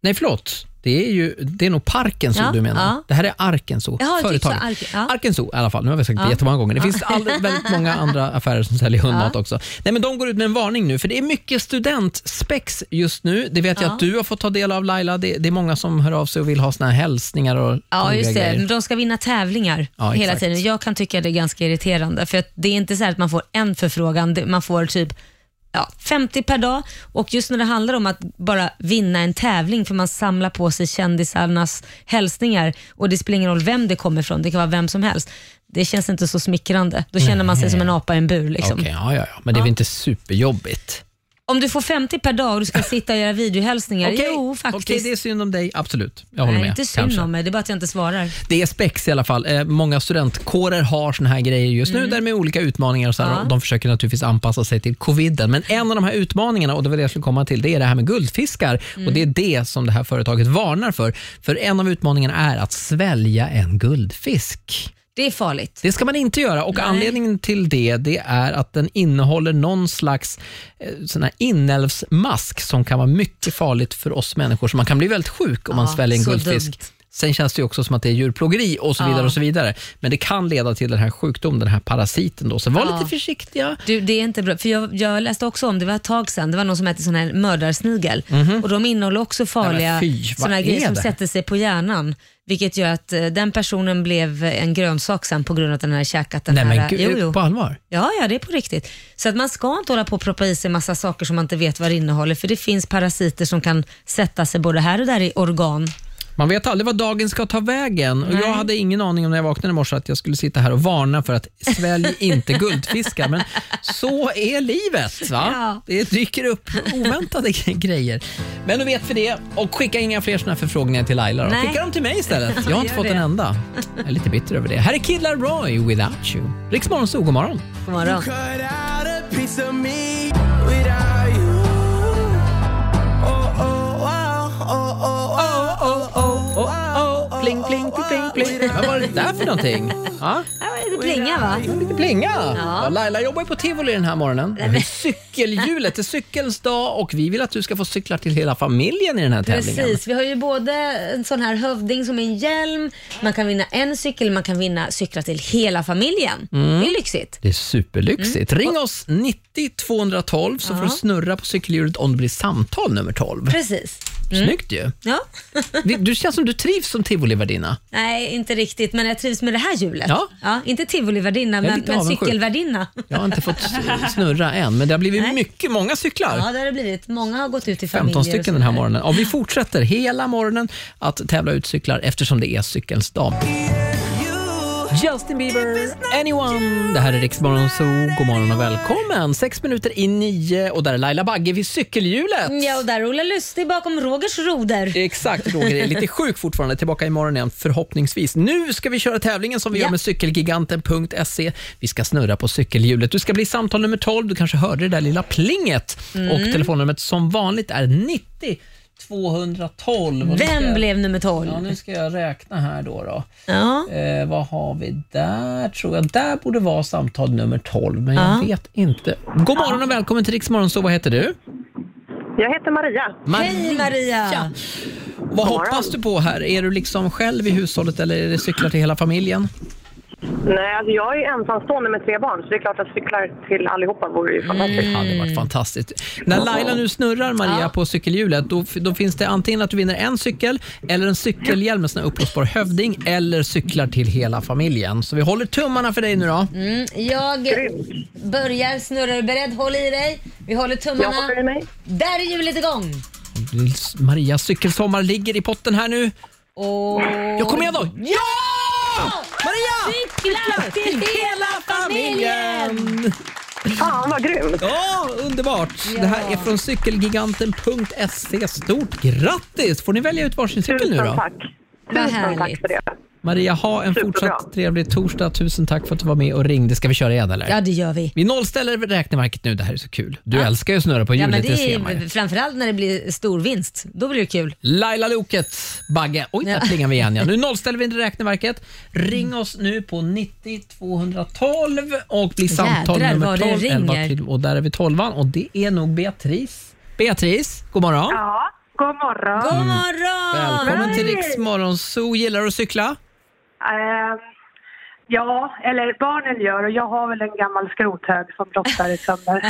B: Nej, förlåt. Det är, ju, det är nog Parken Zoo
C: Ja,
B: du menar.
C: ja.
B: Det här är Arken Zoo,
C: Jaha, jag tyckte
B: företaget.
C: så. Arken- ja.
B: Arken Zoo i alla fall. Nu har vi sagt
C: Ja.
B: det jättemånga gånger. Det
C: Ja.
B: finns all, väldigt många andra affärer som säljer hundmat
C: Ja.
B: också. Nej, men de går ut med en varning nu, för det är mycket studentspex just nu. Det vet jag
C: Ja.
B: att du har fått ta del av Laila. Det, det är många som hör av sig och vill ha såna här hälsningar och
C: Ja,
B: roliga
C: just det.
B: grejer.
C: De ska vinna tävlingar
B: Ja,
C: hela
B: exakt.
C: tiden. Jag kan tycka det är ganska irriterande, för att det är inte så här att man får en förfrågan. Det- Man får typ ja, 50 per dag och just när det handlar om att bara vinna en tävling, för man samlar på sig kändisarnas hälsningar och det spelar ingen roll vem det kommer ifrån, det kan vara vem som helst. Det känns inte så smickrande. Då känner man sig
B: Nej.
C: som en apa i en bur. Liksom.
B: Okej, ja, ja, ja. Men det är väl inte superjobbigt?
C: Om du får 50 per dag och du ska sitta och göra videohälsningar,
B: Okej,
C: jo faktiskt.
B: okej, det är synd om dig. Absolut, jag håller
C: Nej,
B: med.
C: inte synd
B: kanske.
C: om mig, det är bara att jag inte svarar.
B: Det är spex i alla fall. Eh, många studentkårer har såna här grejer just nu
C: Mm.
B: där med olika utmaningar och så här,
C: Ja.
B: och de försöker naturligtvis anpassa sig till coviden. Men en av de här utmaningarna, och det var det jag skulle komma till, det är det här med guldfiskar.
C: Mm.
B: Och Det är det som det här företaget varnar för. För en av utmaningarna är att svälja en guldfisk.
C: Det är farligt.
B: Det ska man inte göra och anledningen till det, det är att den innehåller någon slags eh, sån här inälvsmask som kan vara mycket farligt för oss människor. Så man kan bli väldigt sjuk om man
C: Ja,
B: sväljer en
C: så
B: guldfisk.
C: dumt.
B: Sen känns det ju också som att det är djurplågeri och så vidare.
C: Ja.
B: och så vidare. Men det kan leda till den här sjukdomen, den här parasiten. Då. Så var lite försiktig. försiktiga.
C: Du, det är inte bra. För jag, jag läste också om det, det var ett tag sedan, det var någon som hette sån här mördarsnigel.
B: Mhm.
C: Och de innehåller också
B: Nej,
C: farliga
B: men fy, vad
C: såna här
B: är
C: grejer som
B: det?
C: sätter sig på hjärnan. Vilket gör att eh, den personen blev en grönsak sen på grund av att den hade käkat den
B: Nej,
C: här. eh,
B: men gud, är det på allvar?
C: Ja, ja, det är på riktigt. Så att man ska inte hålla på och proppa i sig massa saker som man inte vet vad det innehåller. För det finns parasiter som kan sätta sig både här och där i organ.
B: Man vet aldrig vad dagen ska ta vägen. Och jag hade ingen aning om när jag vaknade i morse att jag skulle sitta här och varna för att svälj inte guldfiskar. Men så är livet. Va?
J: Ja.
B: Det dyker upp oväntade grejer. Men då vet vi det. Och skicka inga fler såna här förfrågningar till Laila. Då.
J: Nej.
B: Skicka dem till mig istället. Jag har inte
J: Gör
B: fått
J: det.
B: en enda. Jag är lite bitter över det. Här är Kidlar Roy, Without You. Riksmorgon, så god morgon.
C: God morgon.
B: Pling, pling, pling, pling. Vad var det där för någonting? Ja?
C: Lite plinga va?
B: Lite plinga.
C: Ja.
B: Ja, Laila jobbar ju på tivoli den här morgonen. Det är cykelhjulet, det är cykelns dag och vi vill att du ska få cyklar till hela familjen i den här tävlingen.
C: Precis, vi har ju både en sån här hövding som är en hjälm, man kan vinna en cykel, man kan vinna cyklar till hela familjen.
B: Mm.
C: Det är lyxigt.
B: Det är superlyxigt.
C: Mm.
B: Ring oss 90 212 så får du snurra på cykelhjulet om det blir samtal nummer 12.
C: Precis. Mm.
B: Snyggt ju.
C: Ja.
B: Det- Du känns som du trivs som tivolivärdinna.
C: Nej, inte riktigt, men jag trivs med det här hjulet.
B: Ja.
C: inte tivolivärdinna,
B: Jag är
C: men,
B: lite
C: men
B: avundsjuk.
C: cykelvärdinna.
B: Jag har inte fått snurra än, men det har blivit mycket, många cyklar.
C: Ja, det har det blivit. Många har gått ut i familjer.
B: 15
C: och
B: stycken
C: så
B: den här
C: vidare.
B: morgonen. Ja, vi fortsätter hela morgonen att tävla ut cyklar eftersom det är cykelns dag. Justin Bieber, Anyone. Det här är Riksmorgon Zoo. God morgon och välkommen. Sex minuter i nio och där är Laila Bagge vid cykelhjulet.
C: Ja, och där är Ola Lustig bakom Rogers roder.
B: Exakt, Roger är lite sjuk fortfarande. Tillbaka imorgon igen förhoppningsvis. Nu ska vi köra tävlingen som vi
C: Ja.
B: gör med cykelgiganten.se. Vi ska snurra på cykelhjulet. Du ska bli samtal nummer 12. Du kanske hörde det där lilla plinget.
C: Mm.
B: Och telefonnumret som vanligt är 90 212. Och nu ska
C: Vem
B: jag-
C: blev nummer 12?
B: Ja, nu ska jag räkna här då. då.
C: Ja.
B: Eh, vad har vi där? Tror jag där borde vara samtal nummer 12, men
J: Ja.
B: jag vet inte. God morgon och välkommen till Rix Morgon, så Vad heter du?
F: Jag heter Maria.
C: Hej Maria!
B: Vad hoppas du på här? Är du liksom själv i hushållet eller är det cyklar till hela familjen?
F: Nej, alltså jag är ensamstående med tre barn så det är klart att cyklar till allihopa vore ju fantastiskt.
B: Det hade varit fantastiskt. När Laila nu snurrar Maria på cykelhjulet, då, då finns det antingen att du vinner en cykel eller en cykelhjälm med sån här uppblåsbar hövding eller cyklar till hela familjen. Så vi håller tummarna för dig nu då.
C: Mm, jag börjar snurra. Är du beredd? Håll i dig. Vi håller tummarna.
F: Jag håller i mig.
C: Där är hjulet igång!
B: Marias cykelsommar ligger i potten här nu.
C: Och...
B: Jag kommer igen då! Ja! Maria!
J: Cyklar till hela familjen!
F: Fan vad grymt!
B: Ja, underbart! Det här är från cykelgiganten.se. E. Stort grattis! Får ni välja ut varsin cykel nu då?
F: Tusen tack. Tusen tack
C: härligt.
F: för det.
B: Maria, ha en fortsatt trevlig torsdag. Tusen tack för att du var med och ringde. Ska vi köra igen eller?
C: Ja, det gör vi.
B: Vi nollställer räkneverket nu. Det här är så kul. Du älskar ju att snurra på
C: Ja,
B: hjulet,
C: men det
B: det ser man
C: är,
B: ju. Mm.
C: framförallt när det blir stor vinst. Då blir det kul.
B: Laila Loket, Bagge. Oj, där
C: Ja. Mm.
B: plingar vi igen. Ja. Nu nollställer vi räkneverket. Ring oss nu på 90 212 och bli samtal
C: Jädrar,
B: nummer
C: vad det
B: 12.
C: ringer.
B: 11 till, och där är vi 12 och det är nog Beatrice. Beatrice, god morgon.
F: Ja, god morgon.
C: God morgon!
B: Välkommen till
F: Hej.
B: Riks Morgonzoo. Gillar du att cykla?
F: Ehm, ja, eller barnen gör och jag har väl en gammal skrothög som rottar sönder.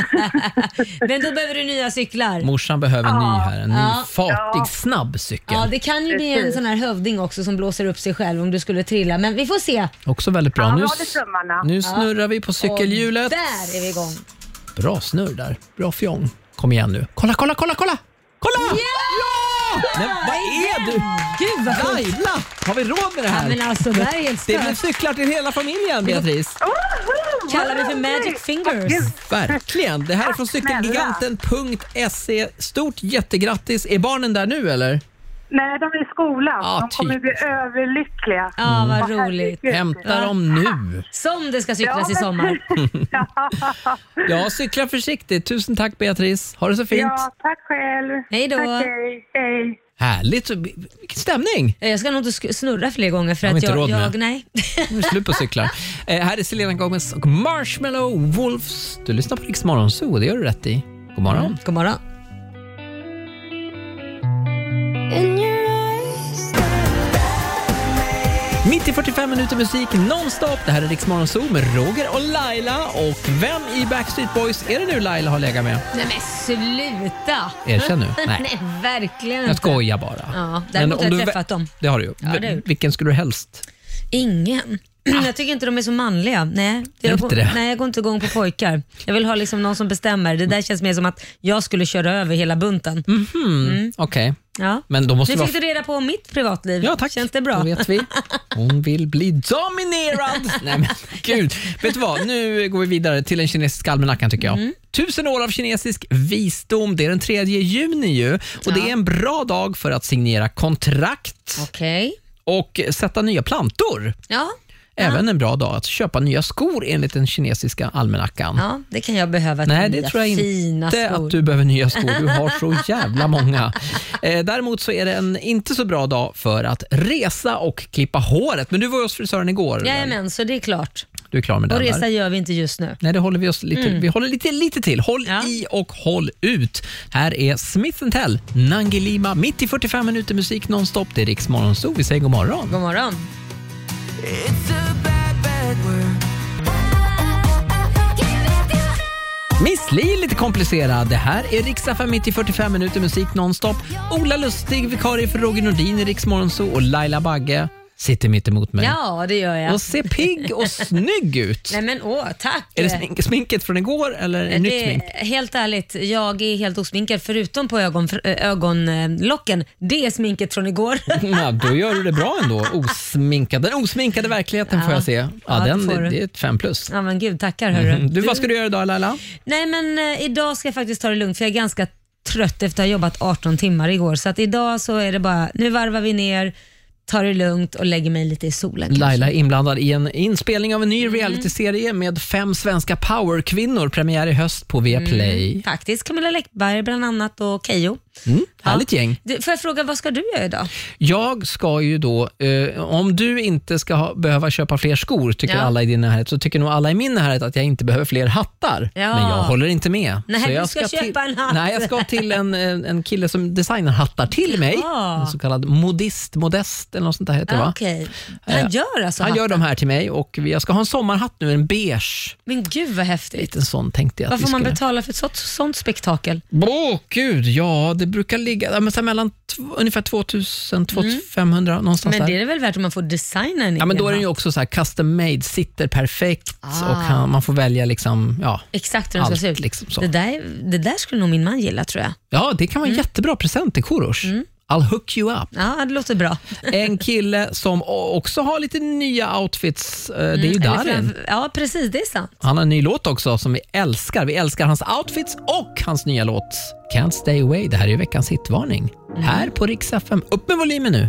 C: Men då behöver du nya cyklar.
B: Morsan behöver en ny här. En ny
C: Ja.
B: fartig,
C: Ja.
B: snabb cykel.
C: Ja, det kan ju bli en sån här hövding också som blåser upp sig själv om du skulle trilla. Men vi får se.
B: Också väldigt bra.
C: Ja,
B: nu
C: vi håller tummarna.
B: nu
C: Ja.
B: snurrar vi på cykelhjulet.
C: Och där är vi igång.
B: Bra snurr där. Bra fjong. Kom igen nu. Kolla, kolla, kolla, kolla! Kolla! Ja! Men vad är du?
C: Gud vad sjukt.
B: Laila, har vi råd med det här?
C: Ja, men alltså, det här är helt
B: Det
C: stört.
B: blev cyklar till hela familjen, Beatrice.
C: Kallar vi för magic fingers.
B: Verkligen. Det här är från cykelgiganten.se. Stort jättegrattis. Är barnen där nu eller?
F: Nej, de är i skolan. de kommer
B: typ.
F: bli överlyckliga.
C: Ja,
B: Mm.
C: vad
F: Åh,
C: roligt.
F: herregud.
B: Hämta dem nu.
C: Som det ska
F: Ja,
C: cyklas
F: men-
C: i sommar.
B: Ja, cykla försiktigt. Tusen tack Beatrice. Ha det så fint.
F: Ja, tack själv.
C: Hej då.
F: Tack, hej. hej.
B: Härligt. Vilken stämning.
C: Eh, Jag ska nog inte sk- snurra fler gånger för
B: Har vi
C: att
B: inte
C: jag,
B: råd med?
C: jag... Nej.
B: Nu är det slut på cyklar. Eh, här är Selena Gomez och Marshmallow Wolves. Du lyssnar på Rix Morgonzoo och det gör du rätt i. God morgon.
C: God morgon.
J: In your eyes,
B: Mitt i 45 minuter musik nonstop. Det här är Rix Morgon Zoo med Roger och Laila. Och vem i Backstreet Boys är det nu Laila har legat med?
C: Nej men sluta!
B: Erkänn nu. Nej.
C: Nej. verkligen
B: Jag
C: inte.
B: skojar bara.
C: Ja, däremot har jag
B: du-
C: träffat dem.
B: Det har du ju.
C: Ja, det har jag gjort.
B: Vilken skulle du helst?
C: Ingen. Jag tycker inte de är så manliga. Nej,
B: Är
C: jag,
B: det inte det?
C: nej, jag går inte igång på pojkar. Jag vill ha liksom någon som bestämmer. Det där känns mer som att jag skulle köra över hela bunten.
B: Hmm, Okej.
C: Ja.
B: Men då
C: Mm. Nu
B: måste
C: fick
B: vara...
C: du reda på om mitt privatliv. Ja, tack. Känns det bra?
B: Då vet vi. Hon vill bli dominerad. Nej men gud. Vet du vad, nu går vi vidare till den kinesiska almanackan tycker
C: Mm.
B: jag. Tusen år av kinesisk visdom. Det är den 3 juni ju och det är en bra dag för att signera kontrakt och sätta nya plantor.
C: Ja.
B: Även en bra dag att köpa nya skor enligt den kinesiska almanackan.
C: ja, det kan jag behöva. ett par
B: Nej, det
C: nya
B: tror jag
C: fina
B: inte
C: skor.
B: att du behöver nya skor. Du har så jävla många. Eh, däremot så är det en inte så bra dag för att resa och klippa håret. Men du var ju hos frisören igår.
C: Jajamän, så det är klart.
B: Du är klar med
C: Och
B: den där.
C: resa gör vi inte just nu.
B: Nej, det håller vi oss lite,
C: Mm.
B: vi håller lite, lite till. Håll i och håll ut. Här är Smith Tell, Nangilima, mitt i 45 minuter musik nonstop. Det är Riks Morgonzoo. Vi säger god morgon.
C: God morgon.
B: Miss Li, lite komplicerad. Det här är Rix FM mitt i 45 minuter musik nonstop. Ola Lustig, vikarie för Roger Nordin i Rix Morgonzoo och Laila Bagge sitter mitt emot mig.
C: Ja, det gör jag.
B: Och ser pigg och snygg ut.
C: Nej men åh, tack.
B: Är det smink, sminket från igår eller är det nytt smink?
C: Det, Eh, helt ärligt, jag är helt osminkad förutom på ögon, eh, ögonlocken. Det är sminket från igår.
B: Ja, då gör du det bra ändå. Osminkad. Den osminkade verkligheten får jag se. Ja,
C: Ja, det
B: den,
C: får du.
B: det är ett fem plus.
C: Ja men gud, tackar hörru.
B: Mhm. Du, vad ska du göra idag Laila?
C: Nej men eh, idag ska jag faktiskt ta det lugnt för jag är ganska trött efter att ha jobbat 18 timmar igår. Så att idag så är det bara, nu varvar vi ner, tar det lugnt och lägger mig lite i solen. kanske.
B: Laila är inblandad i en inspelning av en
C: Mm.
B: ny realityserie med fem svenska powerkvinnor. Premiär i höst på Viaplay.
C: Mm, faktiskt. Camilla Läckberg bland annat och Keyyo.
B: Mm, härligt gäng.
C: Du, Får jag fråga, vad ska du göra idag?
B: Jag ska ju då, eh, om du inte ska ha, behöva köpa fler skor, tycker
C: Ja.
B: alla i din närhet, så tycker nog alla i min närhet att jag inte behöver fler hattar.
C: Ja.
B: Men jag håller inte med.
C: Nej,
B: så jag
C: du ska, köpa
B: till,
C: en hatt.
B: Nej, jag ska till en, en, en kille som designar hattar till mig.
C: Ja.
B: En så kallad modist, modest eller något sånt där heter det, va?
C: Ah, Okej. Han
B: Eh,
C: gör alltså
B: Han gör
C: hattar?
B: de här till mig och jag ska ha en sommarhatt nu, en beige.
C: Men gud vad häftigt.
B: En sån tänkte jag
C: Vad
B: att vi
C: får man
B: skulle...
C: betala för ett sånt, sånt spektakel?
B: Åh gud, ja det brukar ligga ja, men så här mellan tv- ungefär 2000-2500 någonstans
C: Mm. Men
B: där.
C: det är väl värt om man får designa en
B: Ja, men då är
C: egen
B: den ju
C: hatt?
B: också så här custom made, sitter perfekt
C: Ah.
B: och kan, man får välja liksom, ja.
C: Exakt hur den ska
B: Allt
C: se ut.
B: liksom så.
C: det, där, det där skulle nog min man gilla tror jag.
B: Ja, det kan vara en
C: Mm.
B: jättebra present till Korosh. I'll hook you up.
C: Ja, det låter bra.
B: En kille som o- också har lite nya outfits, eh, det är ju
C: Mm, eller
B: Darin.
C: framför- Ja, precis. Det är sant.
B: Han har en ny låt också som vi älskar. Vi älskar hans outfits och hans nya låt Can't Stay Away. Det här är ju veckans hitvarning.
C: Mm.
B: Här på Rix FM. Upp med volymen nu!